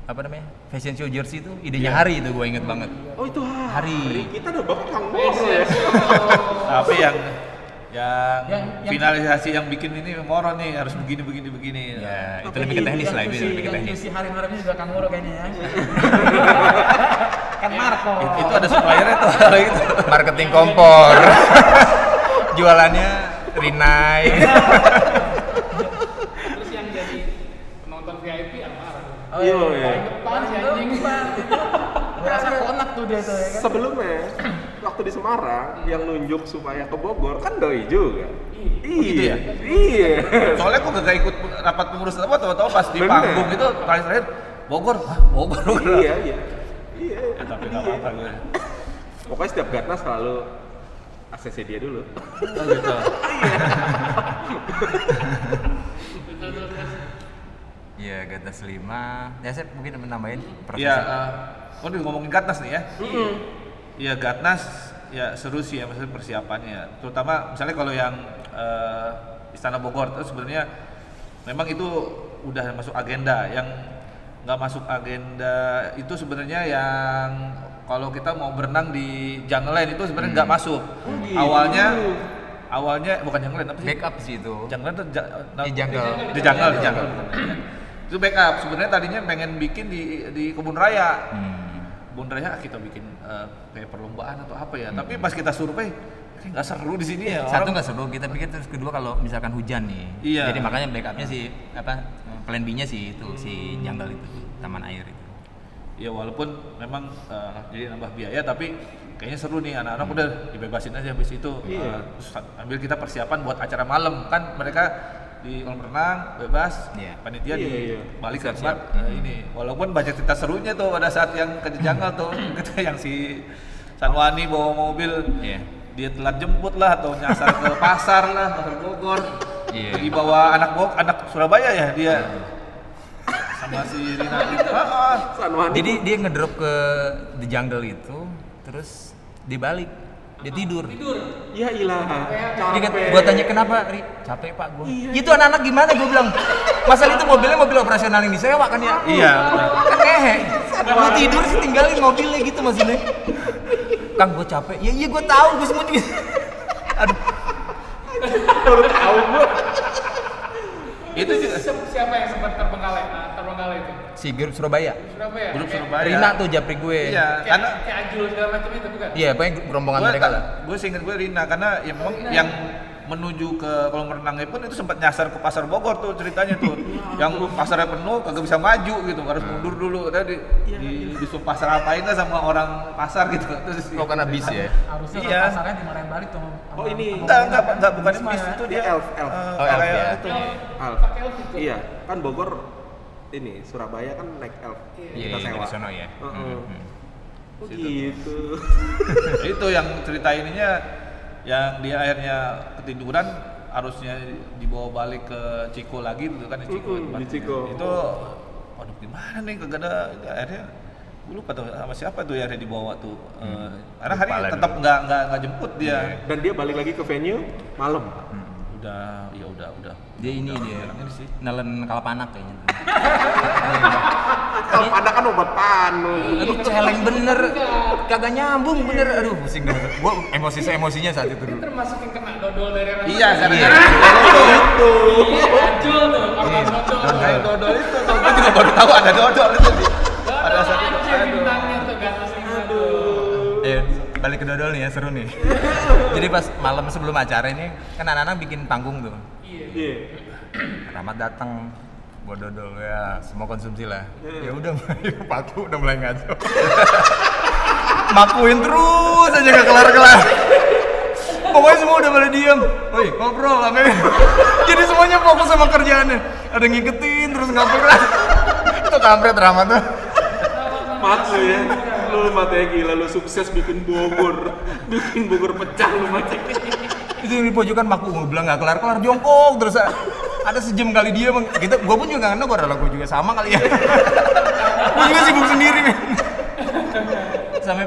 apa namanya? Fashion show jersey itu idenya Iya. hari itu gue inget banget. Oh itu hari. Hari. Iya. Kita udah bakal Kang Moro ya. Tapi yang yang, Yang- yang- finalisasi yang bikin ini moro nih harus begini begini begini. Iya. Ya, itu Tapi lebih ke teknis Yang lah itu cuci- lebih ke yang teknis. cuci hari malamnya juga Kang Muro kayaknya ya. Iya. kan Marco. It- Nah, Itu ada suppliernya tuh kalau gitu. itu. Marketing kompor. Jualannya Rinai. Terus yang jadi penonton VIP Amar. Oh, Iya. iya. Depan si anjing. Iya. Merasa konak tuh dia tuh ya kan. Iya. Sebelumnya waktu di Semarang yang nunjuk supaya ke Bogor kan doi juga. Oh, gitu Iya. ya? Iya. Soalnya gue gak ikut rapat pengurus apa tahu-tahu pas di Bener. panggung itu terakhir terakhir Bogor, Hah, Bogor, Oh, gitu. Bogor. Iya, iya. Iya. Eh, Ya, tapi nggak apa-apa gue. Pokoknya setiap Gatna selalu ACC dia dulu. Oh, gitu. Terus, terus, terus. Iya, Gatas 5. Ya, saya mungkin menambahin prosesnya. Iya, eh, oh ini ngomongin Gatnas nih ya. Iya, Gatnas ya seru sih ya maksudnya persiapannya. ya. Terutama misalnya kalau yang eh, Istana Bogor itu sebenarnya memang itu udah masuk agenda. Yang nggak masuk agenda itu sebenarnya yang kalau kita mau berenang di Jungleland itu sebenarnya nggak masuk. gitu. Awalnya awalnya bukan Jungleland apa sih? Backup sih itu. Jungle tuh ja- eh, Di jungle. Di jungle, di jungle. Itu backup. Sebenarnya tadinya pengen bikin di di kebun raya. Hmm. Kebun raya ah, kita bikin eh, kayak perlombaan atau apa ya. Tapi pas kita survei kayak nggak seru di sini ya. Hmm. Satu Orang- nggak seru, kita pikir terus kedua kalau misalkan hujan nih. Iya. Jadi makanya backupnya sih apa plan B-nya sih itu si jungle itu taman air itu. Ya walaupun memang eh, jadi nambah biaya tapi kayaknya seru nih anak-anak Hmm. udah dibebasin aja habis itu. Iya. Eh, terus ambil kita persiapan buat acara malam kan mereka di kolam renang bebas Iya. panitia Iya, di iya. balik ke tempat Siap-siap. Hmm. eh, ini walaupun banyak cerita serunya tuh pada saat yang ke janggal tuh kita yang si Sanwani bawa mobil Iya. dia telat jemput lah atau nyasar ke pasar lah pasar Bogor Iya. dibawa anak Bog anak Surabaya ya dia sama si Rina Ah, ah. Sanwani. Jadi dia ngedrop ke the jungle itu, terus dibalik, dia tidur. ya ilah. Dia Capek. kata, kan gua tanya kenapa, Ri? Capek pak gua. Itu anak-anak gimana? Gua bilang, masalah itu mobilnya mobil operasional yang disewa kan ya? iya benar. Kan ngehe. Lu tidur sih tinggalin mobilnya gitu maksudnya. Kang gua capek. Ya iya gua tahu, gua semua juga. Aduh, Baru tahu gua. itu juga Si- siapa yang sempat terpenggalai? Ah, terpenggalai itu. si grup Surabaya. Surabaya. grup Kayak- Surabaya Rina tuh japri gue. iya karena kan- Kayak, kayak ajul segala macam itu bukan? Iya, pokoknya rombongan mereka lah. gue seinget gue Rina karena ya memang yang menuju ke kolam renangnya pun itu sempat nyasar ke pasar Bogor tuh ceritanya tuh yang pasarnya penuh kagak bisa maju gitu harus Hmm. mundur dulu tadi di, disuruh pasar apain lah sama orang pasar gitu terus Oh karena bis ya? harusnya Iya. orang pasarnya dimarahin balik tuh sama- Oh, enggak sama ini- enggak pemerintah. enggak bukan Bisma bis ya. itu dia Elf, elf. eh, Oh, elf kayak ya. itu. Alf. Pakai elf itu. Iya, kan Bogor ini Surabaya kan naik elf Iya, kita iya, sewa. dari sono ya. Heeh. Mm, mm. Oh, gitu. itu yang cerita ininya yang dia akhirnya ketiduran harusnya dibawa balik ke Ciko lagi gitu kan di Ciko Mm-mm, di tempatnya. Ciko. itu waduh gimana nih kagak ada ya, akhirnya gue lupa tuh sama siapa tuh yang ada dibawa tuh Eh, karena hari Lupa lah tetap dulu. nggak nggak nggak jemput dia Dan dia balik lagi ke venue malam. udah ya udah udah Dia ini dia Ini sih. nelen kalapanak kayaknya. tuh. Elf ada kan obat panu. Aduh celeng bener, kagak nyambung bener. Aduh pusing gue. Gue emosi emosinya saat itu Ini dulu. termasuk yang kena dodol dari orang iya karena Iya. itu Iya, Ajul tuh, Iya. korban dodol kayak dodol itu gue juga baru tahu ada dodol itu sih pada Dodol saat itu Aceh bintangnya tuh, ganas lima tuh Eh, balik ke dodol nih ya seru nih. Jadi pas malam sebelum acara ini kan anak-anak bikin panggung tuh. Iya. Rahmat datang buat dodol ya semua konsumsi lah ya udah mulai paku udah mulai ngaco makuin terus aja gak kelar kelar pokoknya semua udah pada diem woi ngobrol lah men. jadi semuanya fokus sama kerjaannya ada yang ngiketin terus nggak pernah itu kampret Rahmat tuh Mat lu ya. Lu matanya gila lu sukses bikin Bogor. Bikin Bogor pecah lu mati. itu yang di pojokan maku gue bilang nggak kelar kelar jongkok terus ah, ada sejam kali dia meng- gitu gue pun juga nggak kenal gue adalah gue juga sama kali ya gue juga sibuk sendiri men. sampai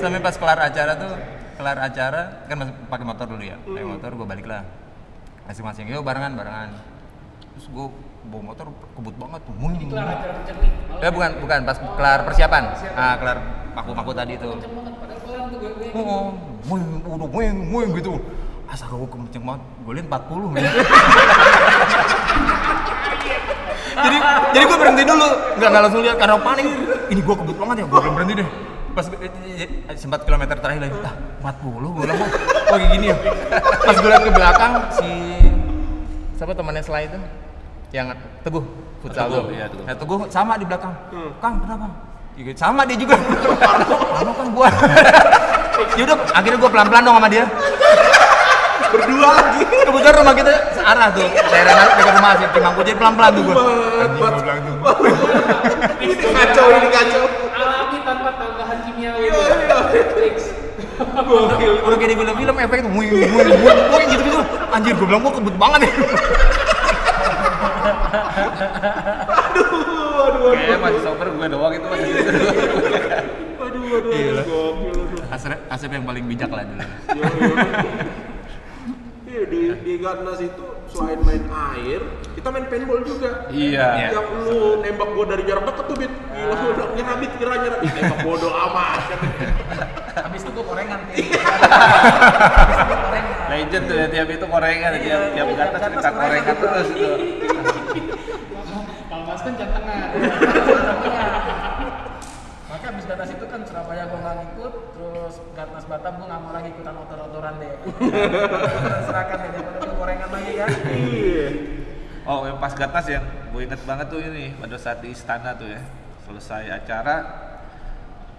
sampai pas kelar acara tuh kelar acara kan masih pakai motor dulu ya pakai Hmm. motor gue balik lah masing-masing yuk barengan barengan terus gue bawa motor kebut banget tuh Wing. Kelar acara kenceng nih malam. Eh bukan bukan pas kelar persiapan ah kelar paku-paku tadi tuh Kenceng banget, padahal pulang tuh gue gue Oh, weng, udah weng, weng gitu. Asal gue kenceng banget, gue liat 40 men. jadi jadi gue berhenti dulu, nggak nggak langsung lihat karena panik. Ini gue kebut banget ya, gue belum berhenti deh. Pas eh, eh, eh, sempat kilometer terakhir lagi, ah 40 gue bilang, oh, oh kayak gini ya. Pas gue liat ke belakang si siapa temannya setelah itu yang teguh futsal Teguh, tuh. iya, Teguh. Nah, teguh sama di belakang. Kang kenapa? Iya, sama dia juga. Lama kan gua. Yaudah, akhirnya gua pelan-pelan dong sama dia. Berdua lagi. Kebetulan rumah kita searah tuh. Daerah dekat rumah sih, Cimangku. Jadi pelan-pelan tuh gua. Anjing, gua bilang tuh. Ini kacau ini kacau. Alami tanpa tambahan kimiawi Iya, Fix. Gokil. Udah kayak di film-film efek tuh. Wih, wih, wih, wih, gitu-gitu. Anjir, gua bilang gua kebut banget ya. kayaknya masih sober gue doang itu masih Aduh aduh Iya aduh lah. gokil. aduh. Asep, Asep yang paling bijak lah dulu. Yo, yo. Iya di di Garnas itu selain main air, kita main paintball juga. iya Iya. Yang lu nembak gua dari jarak dekat tuh, Bit. Gila lu udah nyerabit, kira nyerabit. Nembak bodoh amat. habis itu gue gorengan kayak gitu. Habis itu gua gorengan. Legend tuh ya, tiap itu korengan, tiap tiap kata cerita korengan terus itu. Kalau mas kan jam tengah Maka abis batas itu kan Surabaya gue nggak ngikut, terus Gatnas Batam gue nggak mau lagi ikutan otor-otoran deh. Serahkan deh, daripada gue gorengan lagi kan. Iya. Oh, yang pas gatas yang gue inget banget tuh ini pada saat di istana tuh ya, selesai acara.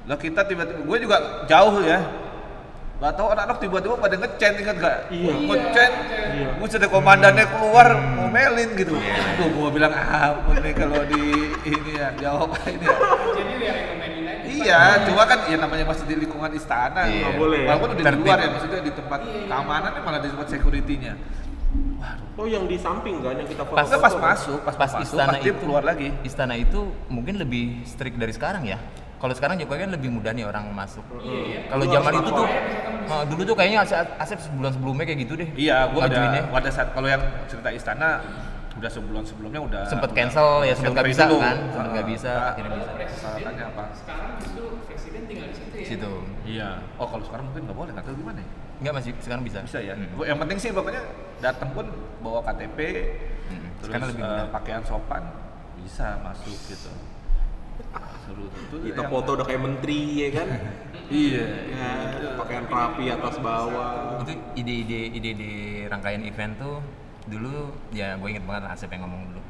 Lah kita tiba-tiba, gue juga jauh ya. Gak tau anak-anak tiba-tiba pada ngechat inget gak? Iya. Ngechat, gue ada komandannya keluar ngomelin gitu. Iya. Tuh gue bilang ampun nih kalau di ini ya jawab ini ya. Jadi dia rekomenin aja Iya, cuma kan ya namanya masih di lingkungan istana. Iya. nggak Boleh ya. Walaupun udah di Tertib. luar ya, maksudnya di tempat Iya. keamanannya malah di tempat security-nya. Oh, yang di samping kan yang kita foto. Pas- Pas, pas masuk, pas, pas masuk, istana pasti itu. keluar lagi. Istana itu mungkin lebih strict dari sekarang ya. Kalau sekarang Jokowi kan lebih mudah nih orang masuk. Iya. Kalau Lu zaman harus itu tuh, eh, dulu tuh kayaknya Asep, Asep sebulan sebelumnya kayak gitu deh. Iya, gua ada ngajuinnya. pada saat kalau yang cerita istana udah sebulan sebelumnya udah sempet udah cancel ya sempet nggak bisa dulu. kan, sempet nggak Ah, bisa ah, akhirnya bisa. Persyaratannya apa? Sekarang justru presiden tinggal di situ Di ya situ. Iya. Oh, kalau sekarang mungkin nggak boleh, nggak tahu gimana ya. Enggak masih sekarang bisa. Bisa ya. Hmm. Gua- Yang penting sih pokoknya datang pun bawa KTP, Hmm. terus Sekarang lebih eh, mudah. pakaian sopan bisa masuk gitu. Seru itu. Kita foto udah kayak menteri ya kan. Iya. Ya, pakaian rapi atas bawah. itu ide-ide ide-ide rangkaian event tuh dulu ya gue inget banget Asep yang ngomong dulu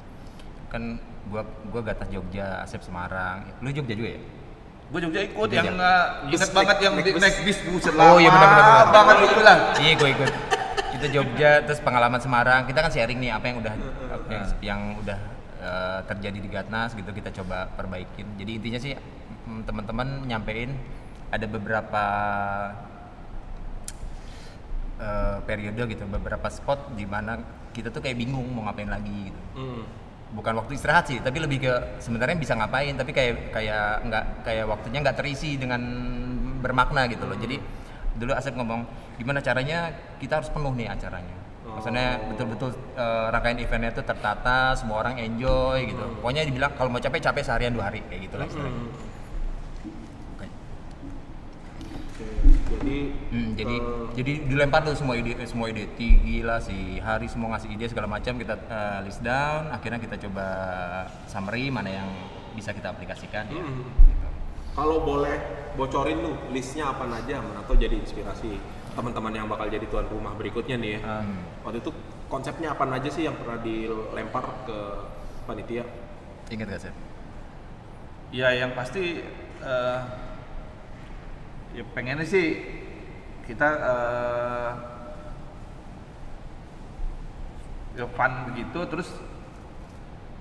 kan gua gua gatas Jogja Asep Semarang lu Jogja juga ya Gue Jogja ikut Jogja. yang uh, Bus, ingat naik- banget yang naik di- bus. naik bis buset Oh, iya, benar, benar, benar. banget itu lah. iya gue ikut itu Jogja terus pengalaman Semarang kita kan sharing nih apa yang udah apa yang, yang udah eh, terjadi di Gatnas gitu kita coba perbaikin jadi intinya sih mm, teman-teman nyampein ada beberapa eh, periode gitu beberapa spot di mana kita tuh kayak bingung mau ngapain lagi gitu Hmm. bukan waktu istirahat sih tapi lebih ke sebenarnya bisa ngapain tapi kayak kayak nggak kayak waktunya nggak terisi dengan bermakna gitu loh jadi dulu Asep ngomong gimana caranya kita harus penuh nih acaranya maksudnya betul-betul eh, rangkaian eventnya itu tertata semua orang enjoy gitu pokoknya dibilang kalau mau capek capek seharian dua hari kayak gitu lah istilahnya. Oke. Oke, Jadi Hmm, jadi eh, jadi dilempar tuh semua ide semua ide Ti, gila si Hari semua ngasih ide segala macam kita eh, list down akhirnya kita coba summary mana yang bisa kita aplikasikan ya. Mm. Gitu. Kalau boleh bocorin lu listnya apa aja Man, atau jadi inspirasi teman-teman yang bakal jadi tuan rumah berikutnya nih ya. Ah. Hmm. Waktu itu konsepnya apa aja sih yang pernah dilempar ke panitia? Ingat gak sih? Ya yang pasti eh, ya pengennya sih kita eh, ya fun begitu terus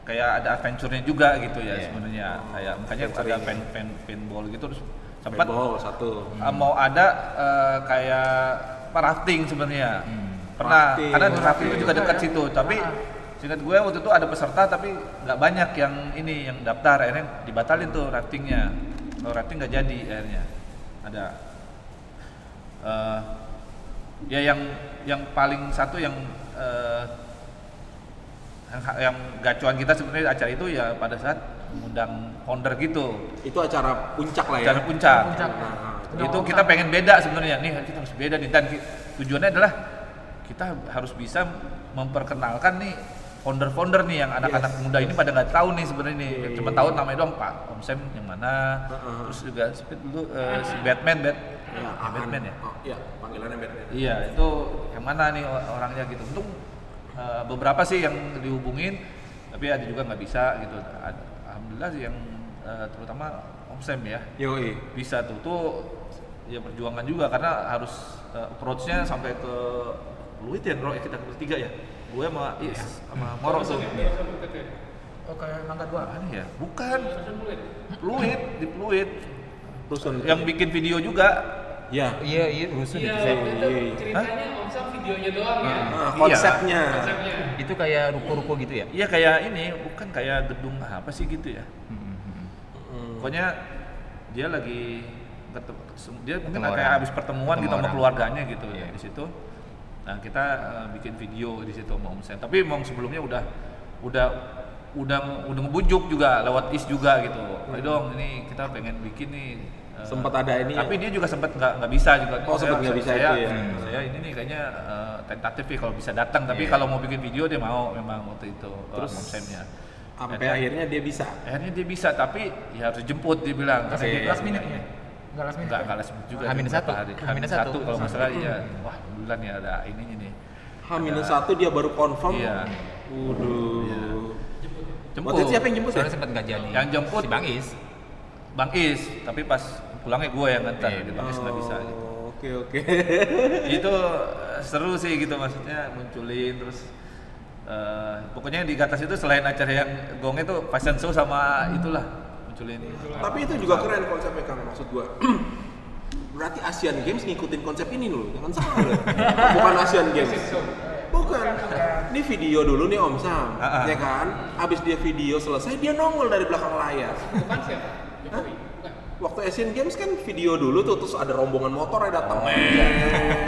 kayak ada adventure-nya juga gitu ya Iya. sebenarnya kayak makanya ada adventure-nya. pen pen paintball gitu terus sempat Paintball satu. Uh, mau ada uh, kayak apa, rafting sebenarnya pernah Hmm, Rafting. karena Oh, rafting, rafting itu juga dekat situ tapi singkat gue waktu itu ada peserta tapi nggak banyak yang ini yang daftar akhirnya dibatalin tuh raftingnya kalau rafting nggak jadi akhirnya ada Uh, ya yang yang paling satu yang uh, yang, yang gacuan kita sebenarnya acara itu ya pada saat mengundang founder gitu Itu acara puncak lah ya. acara puncak Puncak. Nah, Udah itu orang kita sama. pengen beda sebenarnya nih kita harus beda nih dan ki- tujuannya adalah kita harus bisa memperkenalkan nih founder-founder nih yang anak-anak muda ini pada nggak tahu nih sebenarnya nih cuma tahu namanya doang Pak Om Sam yang mana Heeh. terus juga speed dulu eh, si Batman Bat ya, Uh-uh. Aan. Batman ya Oh, iya, panggilannya Batman. iya itu yang mana nih o- orangnya gitu untung eh, beberapa sih yang dihubungin tapi ada juga nggak bisa gitu Ad- alhamdulillah sih yang eh, terutama Om Sam ya Yoi. bisa tuh tuh ya perjuangan juga karena harus uh, approach-nya sampai ke Luit ya bro ya kita bertiga ya gue sama Is sama Moro tuh Oke, Oh, mangga dua. aneh ya bukan Luit di Luit Rusun. yang bikin video juga ya. Iya iya rusuh Iya, gitu waktu itu Iya, iya. ceritanya Om Sam videonya doang Ah. ya. Nah, konsepnya. Konsepnya. Itu kayak ruko-ruko gitu ya? iya kayak ini bukan kayak gedung apa sih gitu ya Mm-hmm. pokoknya dia lagi ketemu dia mungkin Ketemu kayak orang. habis pertemuan Ketemu gitu sama orang. keluarganya gitu Iya. di situ nah kita eh, bikin video di situ mau saya tapi mau sebelumnya udah udah udah udah ngebujuk juga lewat is juga gitu Mm-hmm. ayo dong ini kita pengen bikin nih eh, Sempat ada ini tapi ya? dia juga sempat nggak nggak bisa juga Oh, sempat Saya- nggak bisa saya, itu ya? saya- saya ini nih kayaknya eh, tentatif ya kalau bisa datang tapi Iya. kalau mau bikin video dia mau memang waktu itu terus nya Sampai akhirnya dia bisa. akhirnya dia bisa tapi ya harus dijemput dia bilang Karena Last minute, dia- last minute ya. Enggak last minute. enggak kalah sebut juga Hamin beberapa satu. hari. Hamin Hamin satu. Hmm. satu kalau nggak salah iya wah bulan ya ada ininya nih H-1 dia baru confirm. Iya. Waduh. jemput Waktu itu siapa yang jemput ya? Soalnya sempat nggak jadi. Yang jemput- si Bang Is. bang is tapi pas pulangnya gue yang nganter Iya. jadi bang is nggak bisa gitu. Oh, Oke oke. itu eh, seru sih gitu maksudnya munculin terus eh, pokoknya di atas itu selain acara yang gongnya tuh fashion show sama itulah munculin Tapi itu juga keren konsepnya Kang maksud gua. Berarti Asian Games ngikutin konsep ini loh, jangan salah loh. Bukan Asian Games. Bukan. Ini video dulu nih Om Sam, Ah, ah. ya kan? Abis dia video selesai, dia nongol dari belakang layar. Bukan siapa? Jokowi. Bukan. Waktu Asian Games kan video dulu tuh, terus ada rombongan motor yang datang.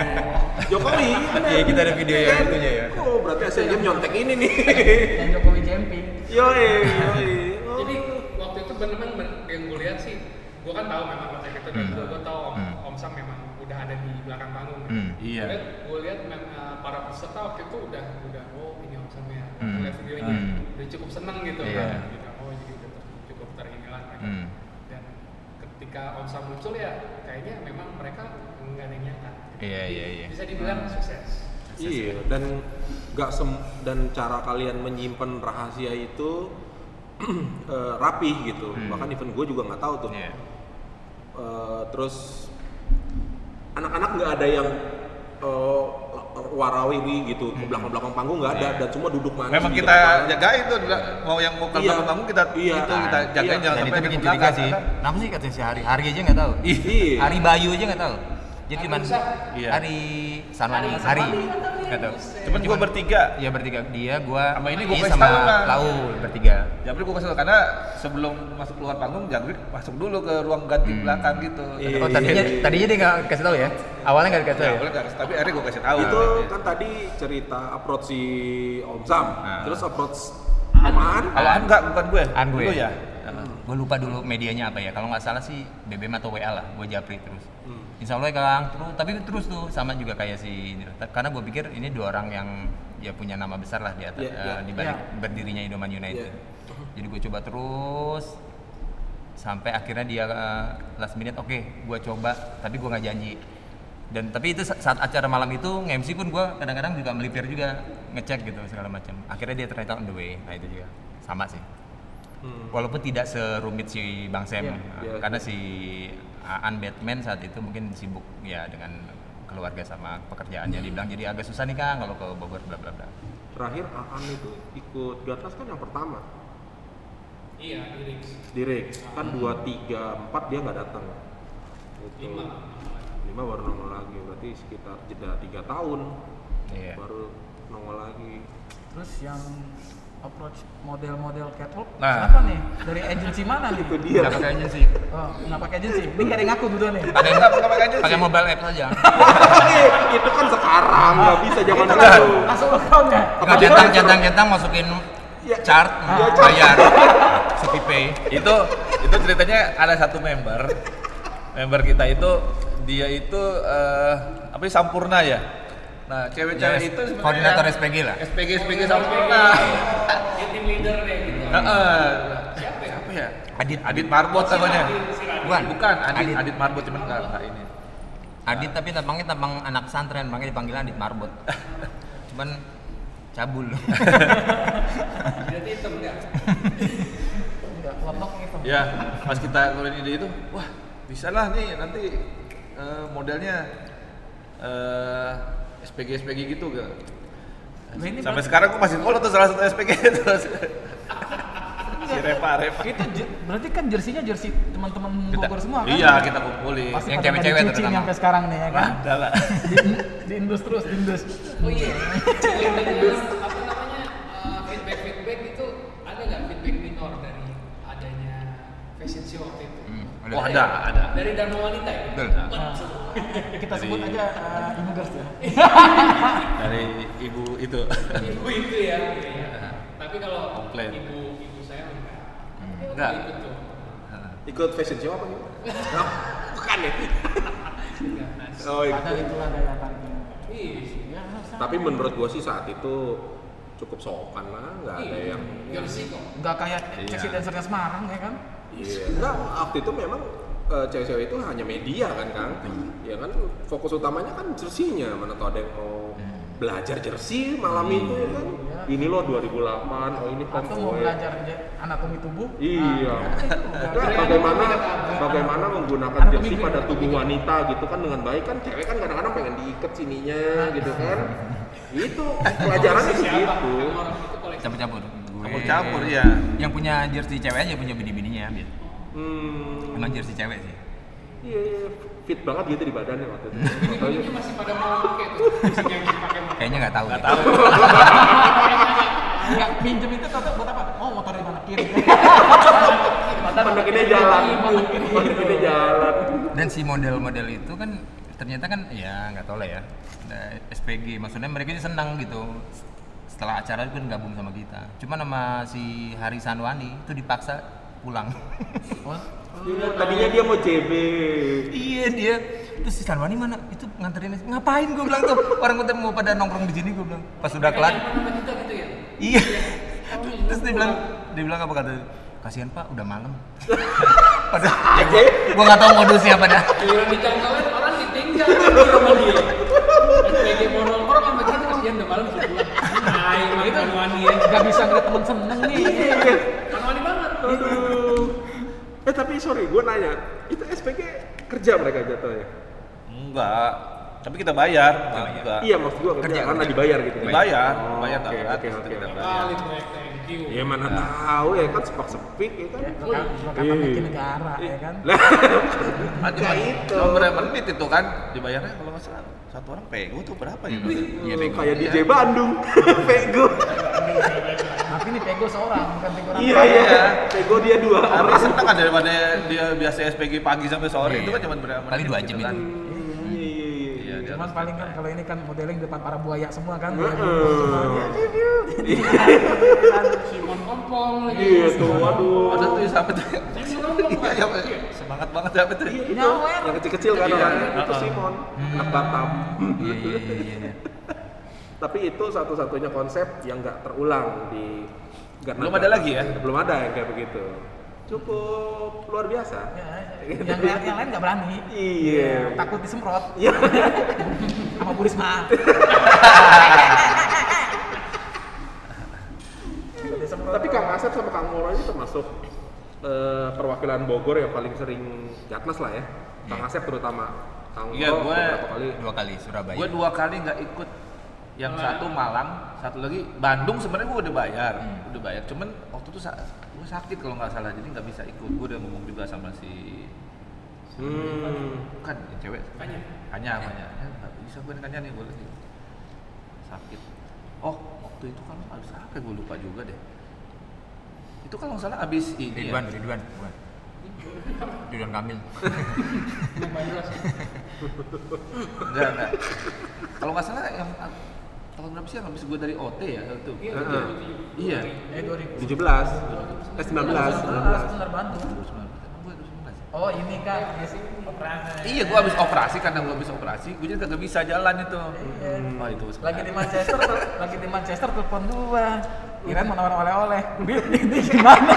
Jokowi. bener. Oh. Iya, kita ada video yang Kan? itunya ya. Oh, berarti Asian Games nyontek ini nih. Dan Jokowi jumping. yoi, yoi. Oh. Jadi waktu itu bener-bener ben- yang gue lihat sih, gue kan tahu memang konsep itu dan Hmm. gue tahu Om, Hmm. Om Sam memang udah ada di belakang panggung. Hmm. Iya. Gue lihat mem- eh, para peserta waktu itu udah udah oh ini Om Sam ya. Hmm. Lihat videonya Hmm. udah cukup seneng gitu. Iya. Gitu. Oh jadi udah ter- cukup terinilah mereka. Hmm. Dan ketika ketika Omsa muncul ya kayaknya memang mereka nggak ada yang nyangka. Iya, iya, iya. Bisa dibilang sukses. Iya, dan nggak sem dan cara kalian menyimpan rahasia itu eh, rapih gitu. Hmm. Bahkan event gue juga nggak tahu tuh. Iya. Eh, terus anak-anak nggak ada yang eh, warawi gitu ke belakang-belakang panggung nggak ada Iya. dan semua duduk gitu kan. manis. Memang di kita belakang. jagain tuh, bila- mau yang mau Iya. kamu kamu kita Iya. itu kita Nah, jagain iya. jangan Dan sampai itu ada bikin yang curiga belakang, sih. kan? Kenapa sih katanya si Hari? Hari aja nggak tahu. Iya. Hari Bayu aja nggak tahu. Hari Jadi cuman Musa. Iya. Hari Sanwani, Hari Hari Sanwani nggak tahu ya, nggak tahu. buset. Iya. Cuman gua bertiga. Ya bertiga dia, gua Sama ini gua Iis kasih sama tahu, Bang. Lau bertiga. Jabrik gua kesel karena sebelum masuk keluar panggung Jabrik masuk dulu ke ruang ganti Hmm. belakang gitu. Iya. Oh tadinya tadinya dia nggak kasih tahu ya? Awalnya nggak dikasih Ya, tahu. ya? boleh nggak? tapi akhirnya gua kasih tahu. itu kan tadi cerita approach si Om Sam, Ah. terus approach Aman. Kalau An enggak bukan gue. An gue. Itu ya. Gue lupa dulu medianya apa ya. Kalau nggak salah sih BBM atau WA lah. Gue japri terus. Hmm. Insya Allah ya Kang. Terus tapi terus tuh sama juga kayak si ini. Karena gue pikir ini dua orang yang ya punya nama besar lah di atas Iya, eh, iya. di balik berdirinya Indoman United. Iya. Jadi gue coba terus sampai akhirnya dia eh, last minute oke gue coba tapi gue nggak janji dan tapi itu sa- saat acara malam itu nge-MC pun gue kadang-kadang juga melipir juga ngecek gitu segala macam akhirnya dia ternyata on the way nah itu juga sama sih Hmm. walaupun tidak serumit si Bang Sam Iya, Nah, iya. karena si Aan Batman saat itu mungkin sibuk ya dengan keluarga sama pekerjaannya dibilang jadi agak susah nih Kang kalau ke Bogor bla bla bla. Terakhir Aan itu ikut Gatnas kan yang pertama Iya, Dirix. di Rex kan dua tiga empat dia nggak datang. Gitu. Lima. Lima baru nongol lagi berarti sekitar jeda tiga tahun Iya. baru nongol lagi. Terus yang approach model-model catwalk Nah. siapa nih? Dari agensi mana nih? Itu dia. Nggak pakai agency. Oh, nggak pakai agensi. Ini nggak ada yang ngaku dulu nih. Ada enggak pakai aja Pakai sih. mobile app saja. itu kan sekarang nggak bisa zaman Itu dulu. Langsung account ya. Nggak centang centang centang masukin Iya. chart hmm, Iya, chart. bayar Shopee Pay. itu itu ceritanya ada satu member member kita itu dia itu eh, apa sih sampurna ya nah cewek-cewek Ya, itu sebenarnya koordinator SPG lah. Iya. SPG SPG sampurna Dia tim leader deh gitu. Heeh. siapa ya? ya Adit Adit Marbot namanya Bukan. bukan Adit Adit. Adit, Marbot cuman nggak nggak ini Adit tapi tampangnya tampang anak santren makanya dipanggil Adit Marbot. Cuman cabul. Berarti hitam ya. Nggak, kelompok gitu. ya pas kita ngeluarin ide itu wah bisa lah nih nanti eh, modelnya eh, SPG SPG gitu gak Nah, ini sampai berarti- sekarang gua masih follow tuh salah satu SPG terus si Repa Repa itu je- berarti kan jersinya jersi teman-teman Bogor semua kan? iya kita kumpulin Pasti Yang pada nggak cewek-cewek dicuci nih terutama. sampai sekarang nih ya kan. ada lah di indus terus, di indus. Oh iya. Ceritanya, apa namanya eh, feedback feedback itu ada nggak feedback minor dari adanya fashion show waktu itu? Hmm, wah Oh, ada ada Dari Dharma Wanita ya? Betul. Nah, kita sebut Jadi- aja eh, ibu gers ya. dari ibu itu Ibu itu ya. oke. Tapi kalau Ah. Komplain. ibu ibu saya enggak. Tapi Enggak. waktu itu tuh. Ikut fashion show apa gitu? Nah, bukan ya. Enggak, nah, Oh, iya. Padahal itulah daya tariknya. Iya. Ya, harusnya. Tapi menurut gua sih saat itu cukup sopan lah, nggak ada Iya. yang Gak kok. nggak kayak Iya. seksi dancernya Semarang ya kan? Iya. Enggak, waktu itu memang eh, cewek-cewek itu hanya media kan Kang. Hmm. Ya kan fokus utamanya kan jersinya, mana tau ada yang mau Hmm. belajar jersi malam itu ya kan. Ini loh 2008, oh ini Atau Iya. mau konvoy. belajar je- anatomi tubuh? Iya. Nah, Nah, itu bagaimana udah- bagaimana menggunakan Anak jersi pemimpin, pada anak tubuh wanita gitu kan dengan baik kan cewek kan kadang-kadang pengen diikat sininya gitu kan. Itu pelajarannya begitu. Yang orang itu koleksi. campur-campur Gue- Campur-campur, iya. yang punya jersey cewek aja punya bini-bininya biar Hmm. emang jersey cewek sih Iya, iya. fit banget gitu di badannya waktu itu. Ini Makanya- Iya, masih pada mau pakai tuh. Isinya yang dipakai mau. kayaknya nggak tahu nggak Nggak pinjem itu tau buat apa? Oh motor di mana kiri? Pendekinnya jalan. Iya, Pendekinnya jalan. dan si model-model itu kan ternyata kan ya nggak tahu lah ya Nah, SPG maksudnya mereka ini senang gitu setelah acara pun gabung sama kita cuman sama si Hari Sanwani itu dipaksa pulang Oh, Iya, tadinya dia mau CB. iya dia terus si Sanwani mana itu nganterin ngapain gue bilang tuh orang kita mau pada nongkrong di sini gue bilang pas udah kelar Yang mana kita gitu ya? Iya. Terus dia bilang, dia bilang apa kata? kasihan pak udah malam padahal ya gua, gua gak tau modusnya padahal Giliran dicangkalin orang ditinggal di rumah dia. Sebagai monokrom sampai kita kasihan udah malam sudah pulang. Nah, emang itu wani ya. Gak bisa ngeliat temen seneng nih. Iya. Wani banget. Aduh. Eh tapi sorry, gue nanya, itu SPG kerja mereka jatuhnya? Enggak. Tapi kita bayar. Oh, Nah, juga. Iya maksud gue kerja, Kerja, karena kerja. dibayar gitu. Dibayar, Oh, bayar tak oke, gratis, oke, kita Oh, bayar. oke. iya. Kali tuh thank you. Ya mana tahu ya kan sepak sepik ya Iya. kan. Perlengkapan negara ya kan. Lah, Ah, cuma gitu. nomor menit itu kan dibayarnya kalau nggak salah satu orang pegu tuh berapa ya? Iya, Bego. kayak DJ Bandung, Pego. Tapi ini pego seorang, bukan pego orang. Iya iya, Pego dia dua Tapi orang. seneng kan daripada dia biasa SPG pagi sampai sore Iya. itu kan cuma berapa Kali menit dua gitu jam itu. Iya iya iya. Iya, dia Cuman harus paling kan kalau ini kan modeling depan para buaya semua kan. Heeh. Simon Kompong lagi. Iya tuh, waduh. Ada tuh siapa tuh? Simon Kompong. Iya, iya. Semangat banget siapa tuh? Iya, itu. Nyawer. Yang kecil-kecil kan Iya. orangnya itu Heeh. Simon, anak Batam. iya iya iya iya. Tapi itu satu-satunya konsep yang nggak terulang di Garnaga. Belum ada lagi ya? Belum ada yang kayak begitu. Cukup luar biasa. Ya, yang, lain- yang lain nggak berani. Iya. Takut disemprot Iya. sama Bu Risma. Tapi Kang Asep sama Kang Moro ini termasuk eh, perwakilan Bogor yang paling sering jatnas lah ya. Kang Asep terutama. Kang Iya, Moro gue- beberapa kali. Dua kali Surabaya. Gue dua kali nggak ikut. Yang satu Malang, satu lagi Bandung sebenarnya gue udah bayar, udah bayar. Cuman waktu itu sa gue sakit kalau nggak salah, jadi nggak bisa ikut. Gue udah ngomong juga sama si Hmm. bukan ya, cewek Kanya. hanya hanya Ya, nggak bisa gue nanya nih gue lagi sakit oh waktu itu kalau habis apa gue lupa juga deh itu kalau nggak salah habis ini Ridwan, ya. Ridwan, Ridwan. Ridwan Kamil. enggak enggak kalau nggak salah yang tahun berapa sih yang habis gue dari OT ya itu Iya, Heeh. iya Eh 2000. 17. Eh 19, 19. Bener Bandung. 2019. Emang gua 2019 ya? Oh ini kak, ya sih operasi. Iya, gue habis operasi karena gue habis operasi, gue jadi kagak bisa jalan itu. Wah itu Lagi di Manchester, tel- lagi di Manchester telepon gua. Kirain mau nawar oleh-oleh. Di, di, di gimana?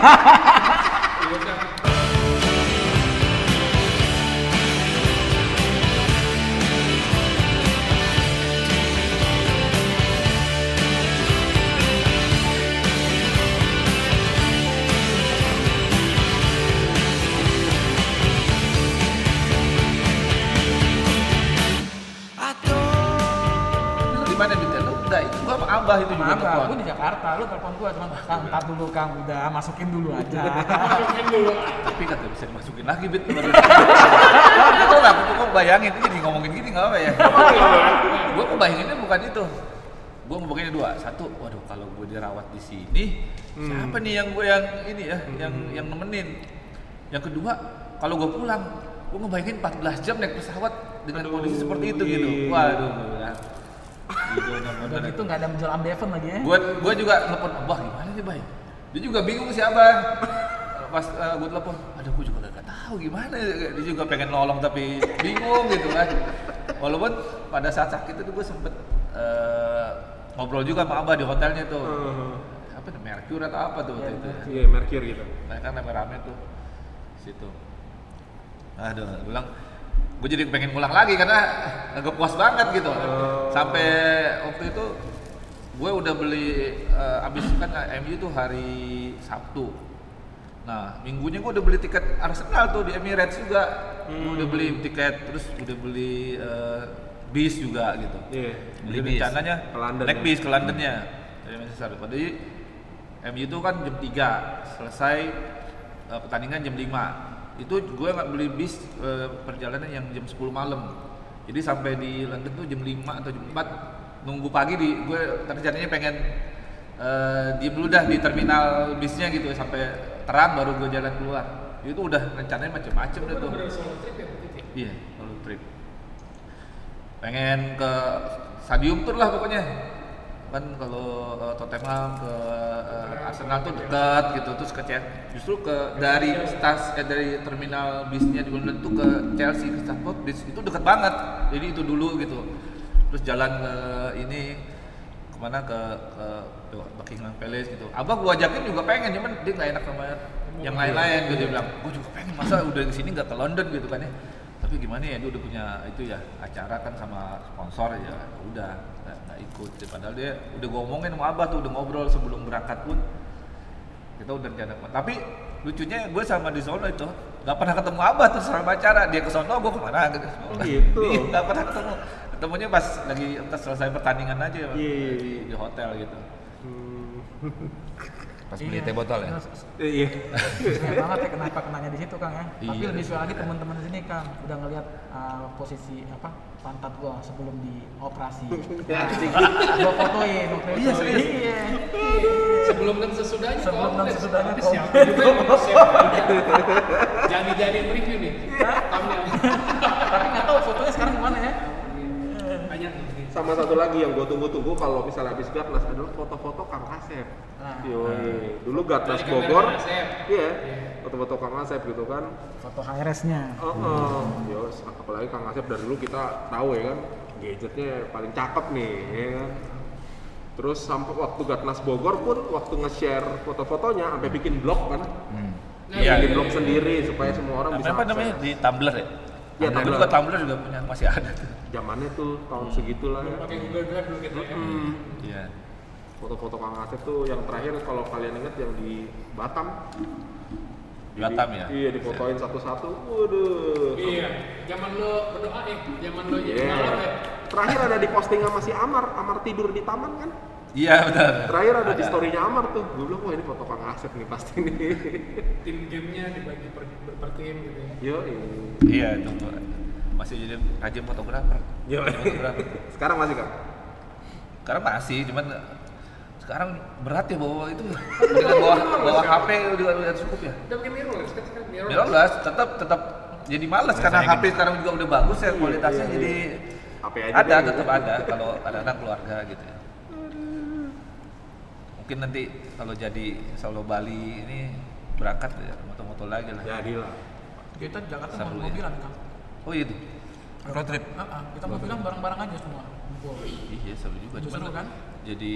di mana di Teluk? Udah, itu gue sama Abah itu juga. Kenapa? telepon. Gua di Jakarta, lu telepon gua cuma kang, tar dulu kang, udah masukin dulu aja. Masukin dulu. tapi kagak bisa dimasukin lagi bit kemarin itu lah aku kok bayangin ini jadi ngomongin gini nggak apa ya gue kebayanginnya bukan itu gue ngebayanginnya dua satu waduh kalau gue dirawat di sini Hmm. siapa nih yang gue yang ini ya yang yang nemenin yang kedua kalau gue pulang gue ngebayangin 14 jam naik pesawat dengan kondisi seperti itu gitu waduh gue bilang gitu, Iya. Udah gitu nggak ada menjual ambeven lagi ya? gue gue juga telepon abah gimana nih bay dia juga bingung sih abah pas gue telepon aduh gue juga gak tahu gimana dia juga pengen nolong tapi bingung gitu kan walaupun pada saat sakit itu gue sempet eh, ngobrol juga sama abah di hotelnya tuh Heeh. apa tuh Mercure atau apa tuh waktu itu ya. Iya, Mercury gitu. mereka Nah, kan rame-rame tuh situ aduh gua bilang gue jadi pengen pulang lagi karena agak puas banget gitu sampai waktu itu gue udah beli eh, abis kan MU tuh hari Sabtu nah minggunya gue udah beli tiket Arsenal tuh di Emirates juga Gua udah beli tiket terus udah beli eh, bis juga gitu Iya. jadi Beli bis. rencananya Ke London naik ya? bis ke Londonnya dari Manchester. Jadi MU itu kan jam 3 selesai eh, pertandingan jam 5. Itu gue nggak beli bis eh, perjalanan yang jam 10 malam. Jadi sampai di London tuh jam 5 atau jam 4 nunggu pagi di gue rencananya pengen eh, diem dulu dah di terminal bisnya gitu sampai terang baru gue jalan keluar. Itu udah rencananya macem-macem deh tuh. Iya, kalau trip. Pengen ke stadium tour lah pokoknya. Kan kalau eh, Tottenham ke eh, Arsenal tuh dekat gitu terus ke Chelsea. Justru ke dari stas eh, dari terminal bisnya di London tuh ke Chelsea ke Stamford Bridge itu dekat banget. Jadi itu dulu gitu. Terus jalan ke ini kemana ke, ke Buckingham Palace gitu. Abah gua ajakin juga pengen cuman dia nggak enak sama yang lain-lain gitu dia bilang gue juga pengen masa udah di sini nggak ke London gitu kan ya tapi gimana ya dia udah punya itu ya acara kan sama sponsor ya udah nggak nggak ikut padahal dia udah gue ngomongin sama abah tuh udah ngobrol sebelum berangkat pun kita udah rencana tapi lucunya gue sama di Solo itu nggak pernah ketemu abah terus sama acara dia ke Solo gue kemana gitu Oh, gitu. Iya, nggak pernah ketemu ketemunya pas lagi entah selesai pertandingan aja Iya, iya, di, iya. di hotel gitu Pas beli teh botol ya. Hmm, Eh, Iya. Sayang Iya. banget ya kenapa kenanya di situ Kang ya. Tapi Iya. lebih suka lagi teman-teman di sini Kang udah ngelihat uh, posisi apa pantat gua sebelum dioperasi. Nah, gua fotoin waktu itu. Iya serius. Iya. Sebelum dan sesudahnya Sebelum dan komplit. sesudahnya Tapi komplit. siapa juga yang mau siapa? Jangan dijadiin review nih. ya? Thumbnail. Tapi nggak tahu fotonya sekarang gimana ya. Banyak nih. Sama satu lagi yang gue tunggu-tunggu kalau misalnya habis Gatnas adalah foto-foto Kang Asep. Nah. Yoi. Dulu Gatnas Ah. Dari kamera Bogor. Kang Asep. Iya. Foto-foto Kang Asep gitu kan. Foto HRS-nya. Oh, oh. Yo, apalagi Kang Asep dari dulu kita tahu ya kan gadgetnya paling cakep nih ya kan. Terus sampai waktu Gatnas Bogor pun waktu nge-share foto-fotonya sampai bikin blog kan. Nah, Iya, bikin iya, blog sendiri supaya semua orang apa, bisa apa namanya akses. di Tumblr ya Iya, Ada Tumblr. juga Tumblr juga punya masih ada tuh Zamannya tuh tahun segitulah ya. Pakai Google Drive dulu gitu ya. Hmm. iya Foto-foto Kang Asep tuh yang terakhir kalau kalian ingat yang di Batam. Di Batam ya? Iya, difotoin satu-satu. Waduh. Iya. Zaman lo berdoa eh, zaman lo jadi Iya. malam ya. Terakhir ada di postingan masih Amar, Amar tidur di taman kan? iya benar Terakhir ada di story-nya Amar tuh. Gue bilang, wah ini foto Kang Asep nih pasti nih. Tim gamenya dibagi per, per, per tim gitu ya. Yo, iya itu gua. masih jadi rajin fotografer yo. fotografer Sekarang masih kan? Sekarang masih, cuman eh, sekarang berat ya bawa itu dengan bawa bawa HP udah udah cukup ya. Udah pakai mirrorless kan sekarang mirrorless. Mirrorless tetap tetap jadi males karena HP sekarang juga udah bagus ya kualitasnya iya, jadi HP aja ada deh. tetap ada kalau ada anak keluarga gitu ya. Mungkin nanti kalau jadi Solo Bali ini berangkat ya moto-moto lagi lah. Jadilah. Kita Jakarta Seru ya. Kang. Oh iya tuh. Road trip. Heeh, kita mobilan bareng-bareng aja semua. Iya seru juga. Itu seru Cuman kan? Jadi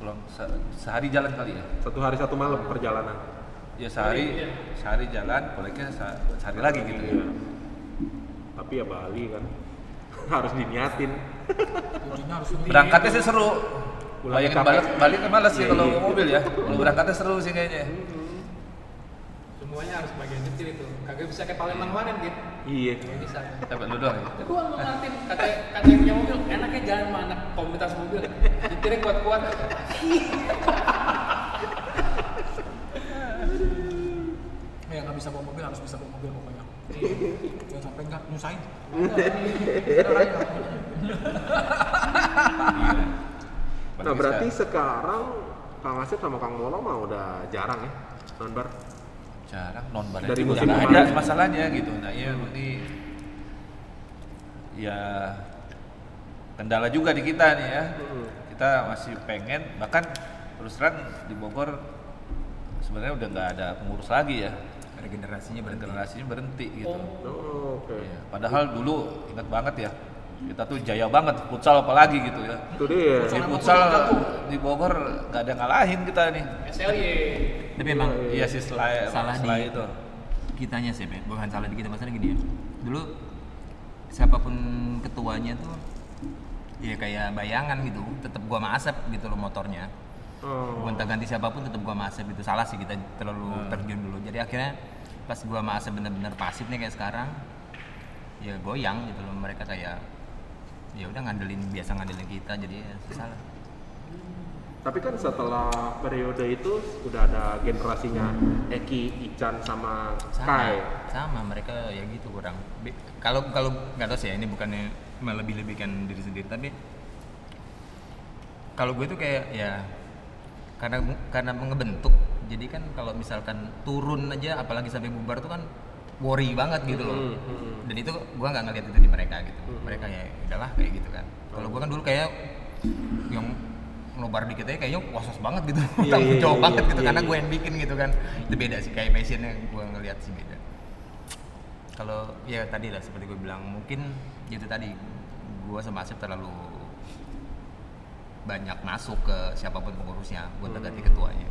pulang se- sehari jalan kali ya. Satu hari satu malam perjalanan. ya sehari sehari jalan baliknya se- sehari lagi gitu ya Iya. Tapi ya Bali kan harus diniatin. Kuncinya harus berangkatnya sih seru Pulang bayangin capek. balik baliknya males sih Iya, kalau iya. mobil ya kalau berangkatnya seru sih kayaknya Semuanya harus bagian kecil itu. Kagak bisa kayak Palembang kemarin gitu. Iya. Nggak bisa. dapat lu doang ya Gua mau ngerti kata kata yang punya mobil enaknya jalan sama anak komunitas mobil. Ditirin kuat-kuat. Ya nggak bisa bawa mobil harus bisa bawa mobil pokoknya. Jangan sampai nggak nyusahin. Nah berarti sekarang Kang Asep sama Kang Molo mah udah jarang ya nonbar. jarang non barang dari Dari musim ada kemarin. masalahnya gitu nah iya ini ya kendala juga di kita nih ya Hmm. kita masih pengen bahkan terus terang di Bogor sebenarnya udah nggak ada pengurus lagi ya Regenerasinya berhenti. generasinya berhenti gitu Oh, Oke. Iya, Padahal dulu ingat banget ya, kita tuh jaya banget futsal apalagi gitu ya. Itu Iya. Di dia. futsal di Bogor nggak ada ngalahin kita nih. SLY. Tapi emang Iya si Selai, Iya. Salah Selai di- itu. kitanya sih, Pe. bukan salah di kita maksudnya gini ya. Dulu siapapun ketuanya tuh ya kayak bayangan gitu, tetap gua sama Asep gitu loh motornya. Oh. Gonta ganti siapapun tetap gua sama Asep itu salah sih kita terlalu terjun dulu. Jadi akhirnya pas gua sama Asep bener-bener pasif nih kayak sekarang ya goyang gitu loh mereka kayak ya udah ngandelin biasa ngandelin kita jadi ya susah lah. Tapi kan setelah periode itu udah ada generasinya Eki, Ican sama sama Kai. sama mereka ya gitu kurang Bi- kalau kalau nggak tahu sih ya ini bukannya melebih lebihkan diri sendiri tapi kalau gue tuh kayak ya karena karena ngebentuk jadi kan kalau misalkan turun aja apalagi sampai bubar tuh kan worry banget gitu Hmm, loh hmm. dan itu gue nggak ngeliat itu di mereka gitu mereka ya udahlah kayak gitu kan kalau gue kan dulu kayak yang nobar dikit aja kayaknya wasos banget gitu Iya, tanggung iya, jawab iya, banget gitu iya, karena iya. gue yang bikin gitu kan itu beda sih kayak passion yang gue ngeliat sih beda kalau ya tadi lah seperti gue bilang mungkin itu tadi gue sama Asep terlalu banyak masuk ke siapapun pengurusnya gue ganti ketuanya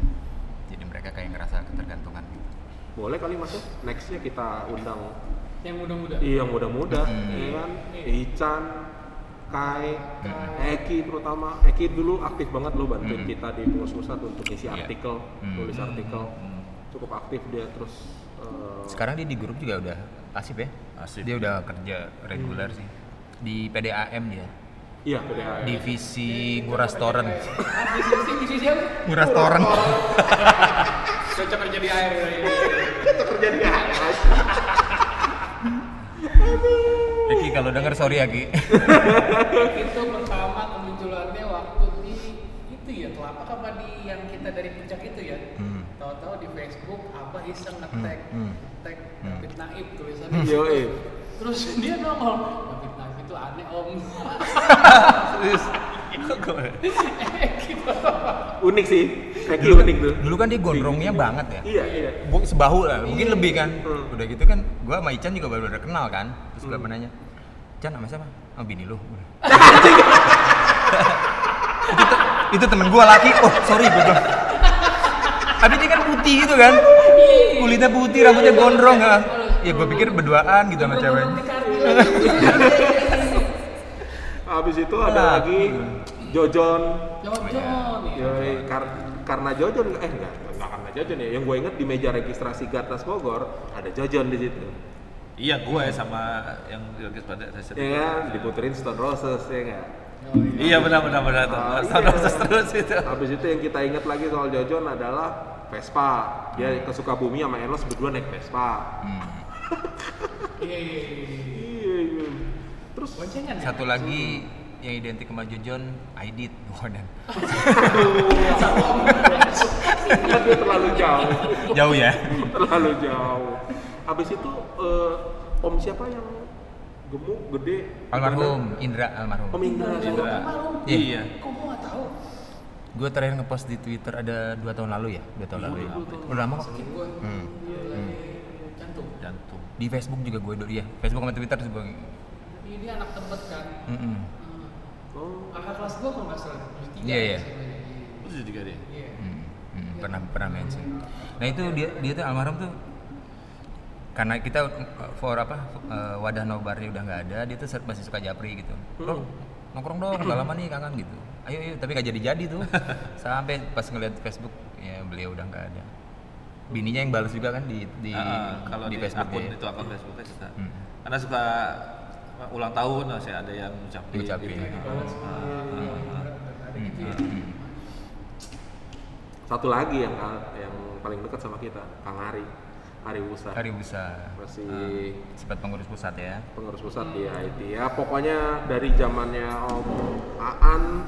jadi mereka kayak ngerasa ketergantungan gitu Boleh kali masuk. Nextnya kita undang yang muda-muda iya yang muda-muda, Hmm. ya kan? Ican, Kai, Mm-hmm. Eki terutama. Eki dulu aktif banget loh bantuin Hmm. kita di Pengurus Pusat untuk isi Iya. artikel, Hmm. nulis Hmm. artikel. Cukup aktif dia terus. eh, sekarang dia di grup juga udah asif ya Asif. Hmm. dia udah kerja reguler sih di PDAM dia Iya, PDAM. divisi nguras torrent Ah, bisnis bisnis siapa? nguras torrent cocok kerja di air ya. Kita kerja di atas. Eki kalau denger sorry ya Ki itu pertama kemunculannya waktu di itu ya telapak apa di yang kita dari puncak itu ya Hmm. tahu-tahu di Facebook apa iseng ngetek Hmm, hmm. tag Hmm. David Naib tulisannya Yo, eh. terus dia nongol David Naib itu aneh om Serius. gitu Pak. Unik sih. Eki unik tuh. dulu kan dia gondrongnya banget ya Iya, iya. Bu- sebahu lah mungkin lebih kan Hmm. udah gitu kan gua sama Ican juga baru udah kenal kan terus gua pernah nanya Ican sama siapa sama bini lu itu, te- itu temen gua laki oh sorry gua bilang tapi dia kan putih gitu kan kulitnya putih rambutnya gondrong kan ya gua pikir berduaan gitu sama cewek Gondrong di kaki lagi. Habis itu ada Nah. lagi Jojon. Jawab John ya. Iya. Yoi, kar- karena Jojon eh enggak, enggak karena Jojon ya. Yang gue inget di meja registrasi Gatnas Bogor ada Jojon di situ. Iya, gue sama yang Yogi pada saya Ya kan, diputerin Stone Roses ya enggak. Iya benar benar benar. Ah, Sama iya. terus itu. Habis itu yang kita ingat lagi soal Jojon adalah Vespa. Dia ke Sukabumi sama Enos berdua naik Vespa. Iya iya iya. Iya, iya. Terus Boncengan ya? satu lagi yang identik sama Jojon Aidit Waduh. kan dia terlalu jauh. jauh ya terlalu jauh. Habis itu eh, Om siapa yang gemuk, gede? almarhum Indra almarhum Om Indra. Indra. Iya. Iya. Kok gua nggak tahu? Gue terakhir ngepost di Twitter ada dua tahun lalu ya, dua tahun lalu ya. Udah lama kok. Gua Hmm. cantum. Jantung. Di Facebook juga gue dulu ya. Facebook sama Twitter sih gue. Ini dia anak tempat kan. Mm-mm. Hmm. Oh, Kakak kelas gua kalau nggak salah. kelas tiga Iya, iya. sih gua jadi. Terus juga deh. Iya. Hmm, Mm, mm, pernah pernah mention. Nah itu dia dia tuh almarhum tuh karena kita uh, for apa uh, wadah nobarnya udah nggak ada, dia tuh ser- masih suka japri gitu. Hmm. Bro, nongkrong dong, udah lama nih kangen gitu. Ayo ayo, tapi nggak jadi-jadi tuh. Sampai pas ngeliat Facebook ya beliau udah nggak ada. Bininya yang balas juga kan di di, Ah, kalau di, Facebook ya. akun itu akun Facebooknya kita. Hmm. Karena suka apa, ulang tahun masih ada yang Gitu. Ah, ucapin. Diucapin. Iya, ah, satu lagi yang yang paling dekat sama kita, Kang Ari. Ari Wusa. Hari Busa. Masih sempat pengurus pusat ya. pengurus pusat di IT. Ya pokoknya dari zamannya Om Aan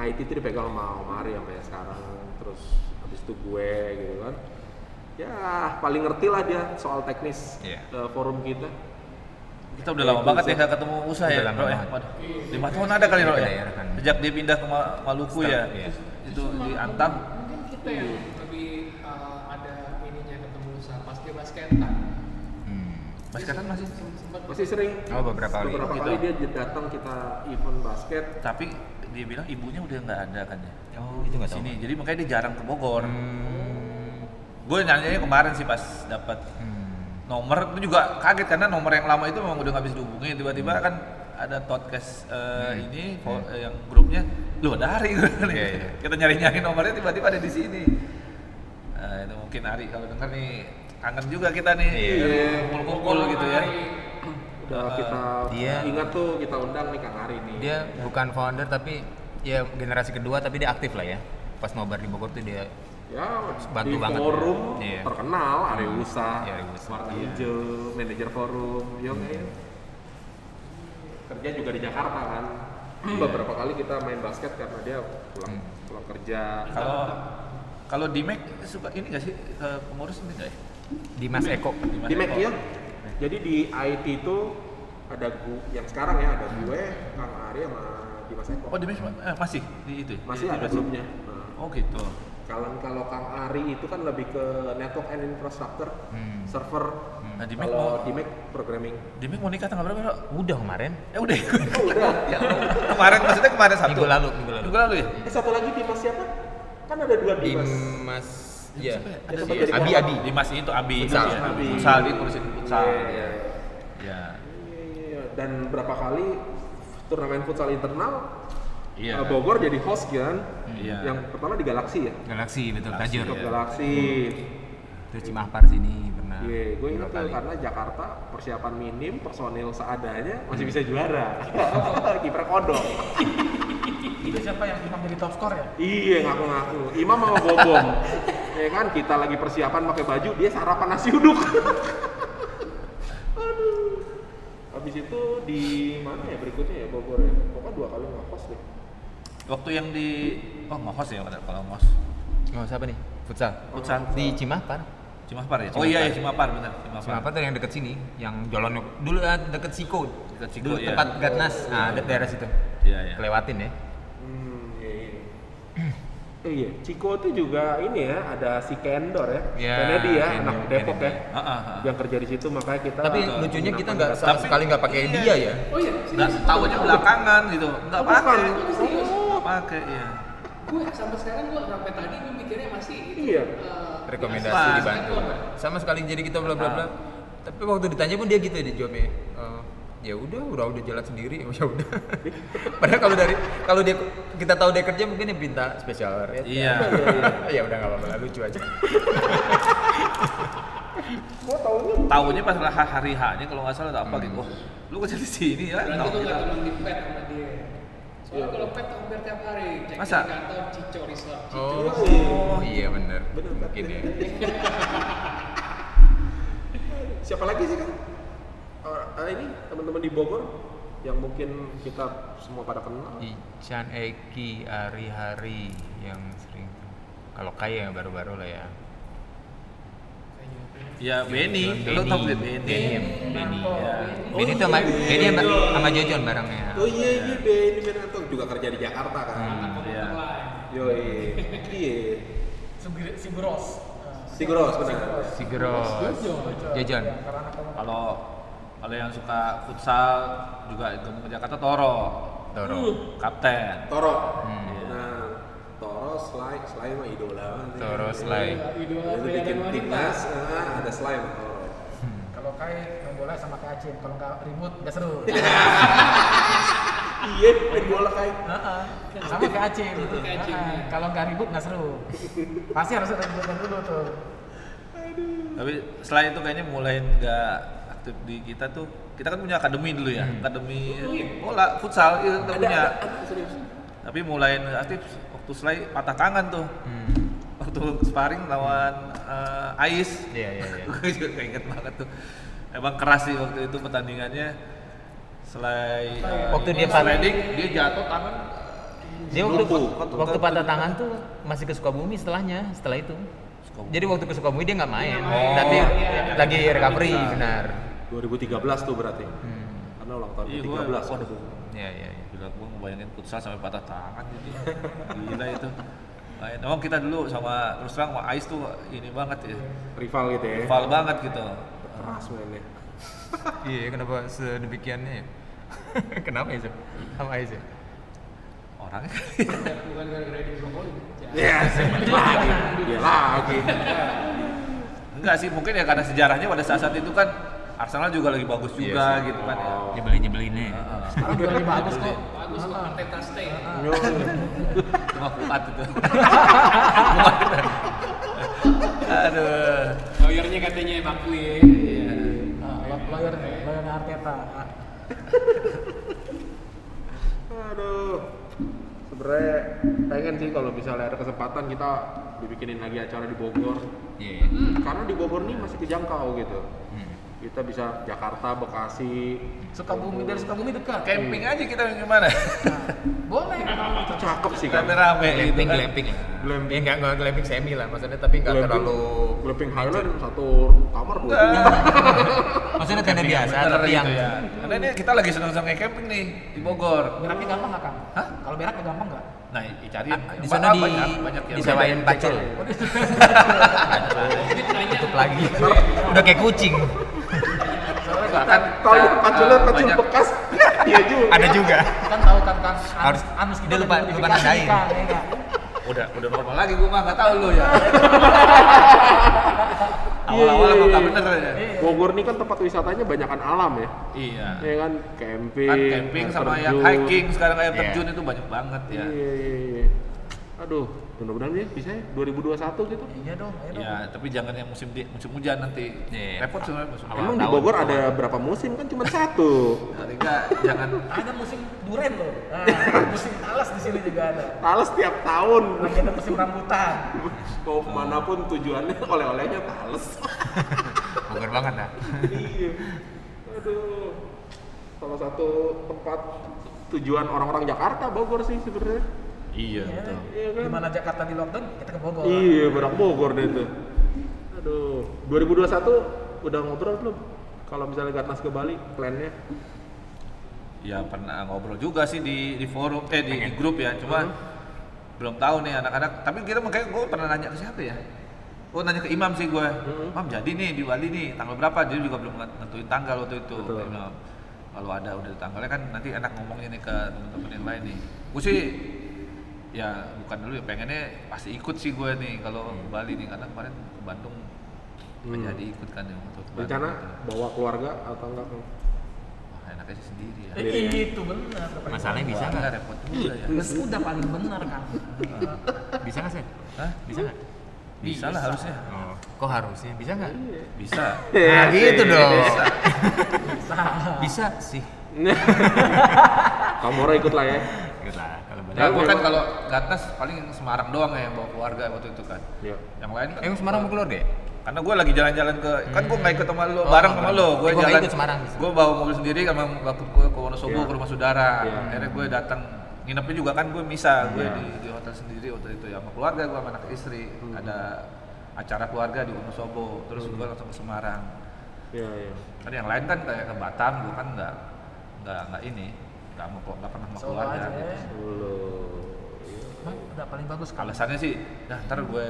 IT itu dipegang sama Om Ari sampai sekarang. Terus habis itu gue gitu kan. Ya paling ngerti lah dia soal teknis Iya. eh, forum kita. Kita udah lama banget ya nggak ketemu Usa Udah ya, lama Bro ya. banget. Waduh, Lima tahun ada kali Bro ya. Iya, kan. Sejak dia pindah ke Ma- Maluku Setelah, ya. iya. Itu di Antam. Mungkin kita yang lebih eh, ada ininya ketemu usaha pas dia kan. basketan. Mas Kakak masih Sempat Masih sering. Oh, beberapa kali. Beberapa Gitu. kali dia datang kita event basket. tapi dia bilang ibunya udah nggak ada kan ya. Oh, itu nggak tahu. Sini. Jadi makanya dia jarang ke Bogor. Gue nanyanya kemarin sih pas dapat Hmm. nomor itu juga kaget karena nomor yang lama itu memang udah nggak bisa dihubungi tiba-tiba Hmm. kan ada podcast eh, ini fo- eh, yang grupnya lu dari gue nih. Iya, iya. kita nyari-nyari nomornya tiba-tiba ada di sini nah, itu mungkin Ari kalau denger nih kangen juga kita nih Iya. kumpul-kumpul gitu ya Udah kita Eh, dia- ingat tuh kita undang nih Kang Ari nih. Dia bukan founder tapi ya generasi kedua tapi dia aktif lah ya. Pas nobar di Bogor tuh dia ya Bantu di banget. forum Iya. terkenal Ari Wusa, Iya, Ari Wusa. Warna Iya. Hijau, manajer forum, yo kan. Kerja juga di Jakarta kan. Iya. Beberapa kali kita main basket karena dia pulang Hmm. pulang kerja. kalau kalau di Mac suka ini nggak sih eh, pengurus ini nggak ya di Mas Eko. Mas Di Mac Eko. ya. Jadi di IT itu ada gue yang sekarang ya Hmm. ada gue, Kang Ari sama Dimas Eko. oh di Mac ma- eh, masih di itu ya? Masih Iya, Di- di ada Mac. grupnya. Nah, oh gitu Kalau kalau Kang Ari itu kan lebih ke network and infrastructure, Hmm. server. nah di Mac mau Kalau di Mac programming. di Mac mau nikah tanggal berapa Bro? Udah kemarin. Eh udah ikut. Oh, udah. ya, kemarin maksudnya kemarin Sabtu. Minggu lalu, minggu lalu. Minggu lalu ya? Eh satu lagi Dimas siapa? Kan ada dua Di Dimas. Mas Ya, Iya. sempat Iya, jadi Abi korban. Abi. Dimas itu Abi Futsal. ya. Abi. futsal dia ngurusin futsal. Iya, iya. Ya. Iya, Dan berapa kali turnamen futsal internal Iya. eh, Bogor jadi host kan? Iya. Yang pertama di Galaxy ya. Galaksi betul Galaxy, Tajur. Cup Iya. Galaxy. Terus Cimahpar sini pernah. Iya, gue ingat tuh berapa kali. karena Jakarta persiapan minim, personil seadanya Hmm. masih bisa juara. Kiper kodok. Itu siapa yang Imam jadi top skor ya? Iya ngaku-ngaku. Imam mau bobom. ya kan kita lagi persiapan pakai baju, dia sarapan nasi uduk. Aduh. Habis itu di mana ya berikutnya ya Bogor ya. Pokoknya dua kali ngakos deh. Waktu yang di oh ngos ya kalau ngos. Oh, siapa nih? Futsal. Futsal. Di Cimahpar. Cimahpar ya? Cimahpar. Oh iya, ya, Cimahpar benar. Cimahpar. Cimahpar tuh yang deket sini, yang jalan dulu ah, deket Siko. Deket Siko, dulu, iya. tempat Gatnas. Nah, ada daerah situ. Iya, iya. Kelewatin ya. Hmm, iya iya. Eh, iya, Ciko itu juga ini ya, ada si Kendor ya. Iya, Kennedy ya, Kendor, anak Depok ya. Kennedy. Heeh, heeh. Yang kerja di situ makanya kita Tapi eh, lucunya kita menggunakan nggak bahasa- sama Tapi- sekali nggak pakai iya. dia ya. Oh iya, Nah, serius. tahunya belakangan gitu. Enggak Oh, pakai. bukan. Serius? Enggak pakai, iya. Gue sampai sekarang gue sampai tadi gue mikirnya masih itu. Iya. eh, Rekomendasi Apa? dibantu. Sama sekali jadi kita bla bla bla. Tapi waktu ditanya pun dia gitu ya dia jawabnya. "Eh, ya udah, udah udah jalan sendiri. Ya udah. Padahal kalau dari kalau dia kita tahu dia kerja mungkin dia minta spesial rate. kan. Iya. ya udah nggak apa-apa, lucu aja. Gua taunya Tahunya pas lah- hari H-nya kalau nggak salah atau apa Hmm. gitu. Oh, lu kerja di sini ya? Berarti Tahu gue kita. gak temen Gitu di pet sama dia. Soalnya kalau pet hampir tiap hari. Cek Masa? di kantor, cico, resort, cico. Oh, iya bener. Bener, Mungkin ya. siapa lagi sih kan Eh, eh, ini teman-teman di Bogor yang mungkin kita semua pada kenal Ican Eki hari-hari yang sering tuh. Kalau kaya yang baru-baru lah ya. Ya Benny, lu tau nggak Benny? Benny, Benny. ya. Oh, Benny tuh sama iya, iya, Benny sama, iya. sama Jojon barengnya. oh iya iya Benny Benanto juga kerja di Jakarta kan Iya. yo iya Sugir- Si Bros. si Gross benar Si Geros. Jojon. Kalau kalau yang suka futsal juga itu ke Jakarta Toro, Toro. kapten. Toro Hmm. nah Toro Sly Sly mah idola banget Toro Sly. Idola itu pria bikin dan wanita. timnas ah, ada Sly sama Toro Kalau Kai main bola sama Kak Acim, kalau nggak ribut nggak seru. iya main bola kayak Heeh. sama Kak Acim. Kak Acim, Heeh. ya. Kalau nggak ribut nggak seru. Pasti harus ada ributan dulu tuh. Tapi setelah itu kayaknya mulai nggak aktif di kita tuh. Kita kan punya akademi dulu ya, Hmm. akademi bola futsal itu kita punya. Tapi mulai aktif waktu selai patah tangan tuh. Hmm. Waktu sparring lawan eh, Ais. Iya, iya, iya. Gue juga inget banget tuh. Emang keras sih waktu itu pertandingannya. Selai eh, Waktu dia sliding, dia jatuh tangan Dia waktu, Lumpuh. waktu patah tangan tuh masih ke Sukabumi setelahnya, setelah itu. Sukabumi. Jadi waktu ke Sukabumi dia nggak main, main. tapi Oh, lagi recovery benar. 2013 tuh berarti Hmm. karena ulang tahun Iya, ke gua- 13 waduh. Iya iya. iya. Gila gue ngebayangin futsal sampai patah tangan jadi gila itu. Lain. Emang kita dulu sama terus terang sama Ais tuh ini banget ya, rival gitu ya rival banget gitu. keras mainnya Iya, kenapa sedemikiannya ya? kenapa ya, Sob? Sama aja, Sob? Orangnya kan Bukan gara-gara di brokoli. Iya, Ya, lagi. Dia lagi. enggak sih mungkin ya karena sejarahnya pada saat saat itu kan Arsenal juga lagi bagus Iya juga gitu kan ya. Nyebelin nyebelinnya. Sekarang juga lebih bagus kok. Bagus kok, Arteta stay. Cuma kuat itu. Aduh. Lawyernya katanya bakui ya. Nah, lo- lawyer lawyer Arteta. Nah, Aduh. Sebenernya pengen sih kalau misalnya ada kesempatan kita dibikinin lagi acara di Bogor. Iya. iya. Karena di Bogor nih masih kejangkau gitu. Hmm. Kita bisa Jakarta, Bekasi, Sukabumi dari Sukabumi dekat. Nah, Camping aja kita gimana? Boleh. itu cakep sih kan. Rame-rame gitu Glamping, kan. glamping. Glamping. Ya enggak enggak glamping semi lah maksudnya tapi enggak Glamping- terlalu Glamping Highland satu kamar dua Enggak. puluh. maksudnya tenda Kan biasa Bener tapi gitu yang ya. Karena ini kita lagi seneng-seneng camping nih di Bogor. Beraknya gampang nggak kang? Hah? Kalau beraknya gampang nggak? Nah, dicari Ah, di sana di disewain gitu. pacul. Mungkin nanya, Tutup lagi. Udah kayak kucing. Soalnya kita- Bahkan Kalau paculnya pacul banyak bekas, iya juga. Ada juga. kan tahu kan kan anus, Harus- anus Anu, kita dia lupa- lupa dimodifikasi, nandain. Kang, ya nggak? udah udah normal lagi gua mah nggak tahu lu Iya. ya. Awal-awal Iya, emang iya, nggak iya. bener ya. Bogor ini kan tempat wisatanya banyakan alam ya. Iya. Ya kan camping, Kan camping air sama yang terjun. hiking sekarang air Iya. terjun itu banyak banget Iya, ya. iya, iya, iya. Aduh, mudah-mudahan ya bisa ya 2021 gitu. Iya dong, ayo dong. Ya, tapi jangan yang musim di- musim hujan nanti. Iya. Repot sebenarnya musim Awal Emang hujan. di tahun, Bogor awal ada berapa musim kan cuma satu. Ketiga, jangan Ada musim duren loh. Nah, musim talas di sini juga ada. Tales tiap tahun. Lagi ada musim rambutan. Mau manapun tujuannya oleh-olehnya tales. Bogor banget ya? dah. Iya. Aduh. Salah satu tempat tujuan orang-orang Jakarta Bogor sih sebenarnya. Iya, betul. Iya kan? Ya, Di mana Jakarta di lockdown, kita ke Bogor. Iya, berak Bogor deh itu. Aduh, 2021 udah ngobrol belum? Kalau misalnya Gatnas ke Bali, plannya? Ya pernah ngobrol juga sih di di forum eh di, di grup ya, cuma Hmm. belum tahu nih anak-anak. Tapi kita makanya gue pernah nanya ke siapa ya? Gue nanya ke Imam sih gue. Hmm. Imam jadi nih di Bali nih tanggal berapa? Dia juga belum nentuin tanggal waktu itu. Kata Betul. Imam, Kalau ada udah tanggalnya kan nanti enak ngomongnya nih ke teman-teman yang lain nih. Gue sih ya bukan dulu ya pengennya pasti ikut sih gue nih kalau ke Bali nih karena kemarin ke Bandung Hmm. menjadi ikut kan ya untuk ke Bandung Rencana gitu. bawa keluarga atau enggak? Kang? Wah, enaknya sih sendiri ya. Iya. Eh, itu benar. Masalahnya bisa Wah, nggak? repot juga ya. Ya sudah paling benar kan. Bisa nggak sih? Hah? Bisa nggak? Bisa lah harusnya. Oh, kok harusnya? Bisa nggak? Bisa. Nah, gitu dong. Bisa. Bisa sih. Kamu orang ikut lah ya. Gitu lah, kalau balik. Ya, gua kan kalau Gatnas paling Semarang doang ya yang bawa keluarga waktu itu kan. Iya. Yang lain kan Emang Semarang Eh, mau keluar deh? karena gue lagi jalan-jalan ke kan gue nggak ikut sama lo Oh, bareng sama bareng. lo gue Eh, gua nggak jalan ikut Semarang. gue bawa mobil sendiri sama waktu gue ke Wonosobo Iya. ke rumah saudara Iya. akhirnya gue datang nginepnya juga kan gue misa gue Iya. di, di hotel sendiri waktu itu ya sama keluarga gue sama anak istri Hmm. ada acara keluarga di Wonosobo terus gue langsung ke Semarang Iya, iya. kan yang lain kan kayak ke Batam gue kan nggak nggak nggak ini nggak mau nggak pernah mau Solo keluarga aja. gitu. Dulu. Emang udah paling bagus kalau alasannya sih nah ntar gue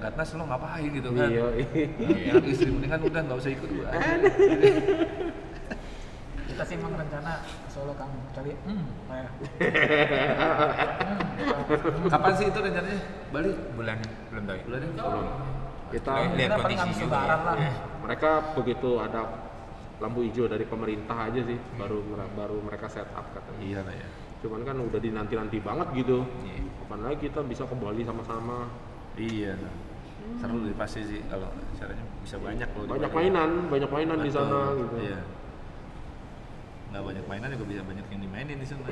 gatnas lo ngapain gitu kan Iya, iya. Iya, istri mendingan udah nggak usah ikut gue aja. kita sih emang rencana ke Solo kan cari hmm kayak Kapan sih itu rencananya? Bali? Bulan belum tahu. ya? Bulan ini? Kita Lihat kita paling kondisi habis juga lebaran ya. lah. mereka begitu ada lampu hijau dari pemerintah aja sih baru baru mereka set up katanya. Iya lah ya. Cuman kan udah dinanti-nanti banget gitu. Iya. Kapan lagi kita bisa ke Bali sama-sama? Iya. lah. Seru deh pasti sih kalau caranya bisa banyak loh. di Bali. Banyak ya. mainan, banyak mainan di Betul. sana gitu. Iya. Nggak banyak mainan juga bisa banyak yang dimainin di sana.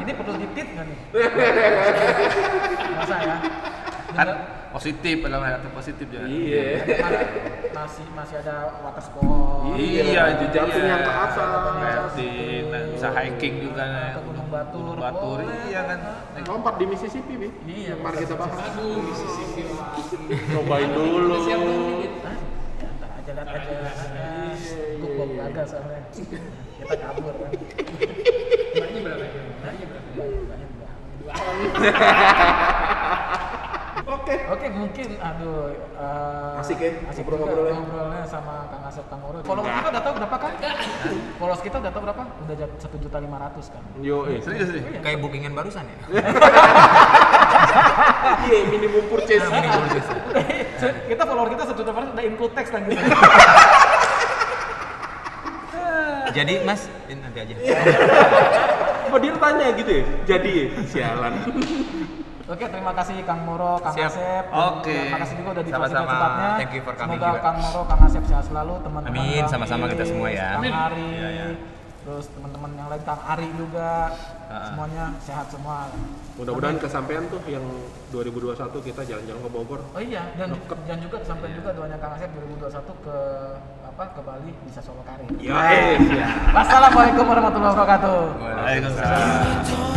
ini perlu ditit nggak nih masa ya kan positif dalam hal itu positif ya. Iya. Ada- masih masih ada water sport Iya, itu Jangan yang ke atas. Rafting, nah, bisa hiking juga nah, Ke Gunung Batur. Gunung Batur, Boleh. iya kan. Naik Lompat di Mississippi, Bi. Iya, Mari kita bahas. Aduh, Mississippi lagi. Cobain dulu. Siap belum nih? Hah? Ya, ntar aja lihat aja gue belum ada soalnya kita kabur kan Mbaknya berapa ya? Mbaknya berapa? Banyak banget. Oke. Oke mungkin aduh eh, Asik ya, asik ngobrol-ngobrolnya. juga ngobrolnya sama Kang Asep Kang Oro. Followers kita udah tahu berapa kan? Followers kita udah tahu berapa? Udah jam satu juta lima ratus kan? Yo, eh. Serius nih? Kayak bookingan barusan ya? Iya, minimum purchase. Ini baru selesai. Eh, kita follower kita satu juta lima ratus udah include teks lagi. Jadi Mas, ini nanti aja. Iya. Apa dia tanya gitu ya? Jadi ya? sialan. Oke terima kasih Kang Moro, Kang Siap. Asep. Oke. Terima kasih juga udah di Sama-sama. tempatnya. Thank you for coming Semoga juga. Kang Moro, Kang Asep sehat selalu, teman-teman. Amin, Bang sama-sama kita Iis, semua ya. Kang Amin. Ari, Iya, iya. terus teman-teman yang lain Kang Ari juga, Ah. semuanya sehat semua. Mudah-mudahan kesampaian tuh yang 2021 kita jalan-jalan ke Bogor. Oh iya, dan dan juga sampai Iya. juga doanya Kang Asep 2021 ke apa ke Bali bisa solo karir. Iya. Yo, eh. Iya. Wassalamualaikum warahmatullahi wabarakatuh. Waalaikumsalam.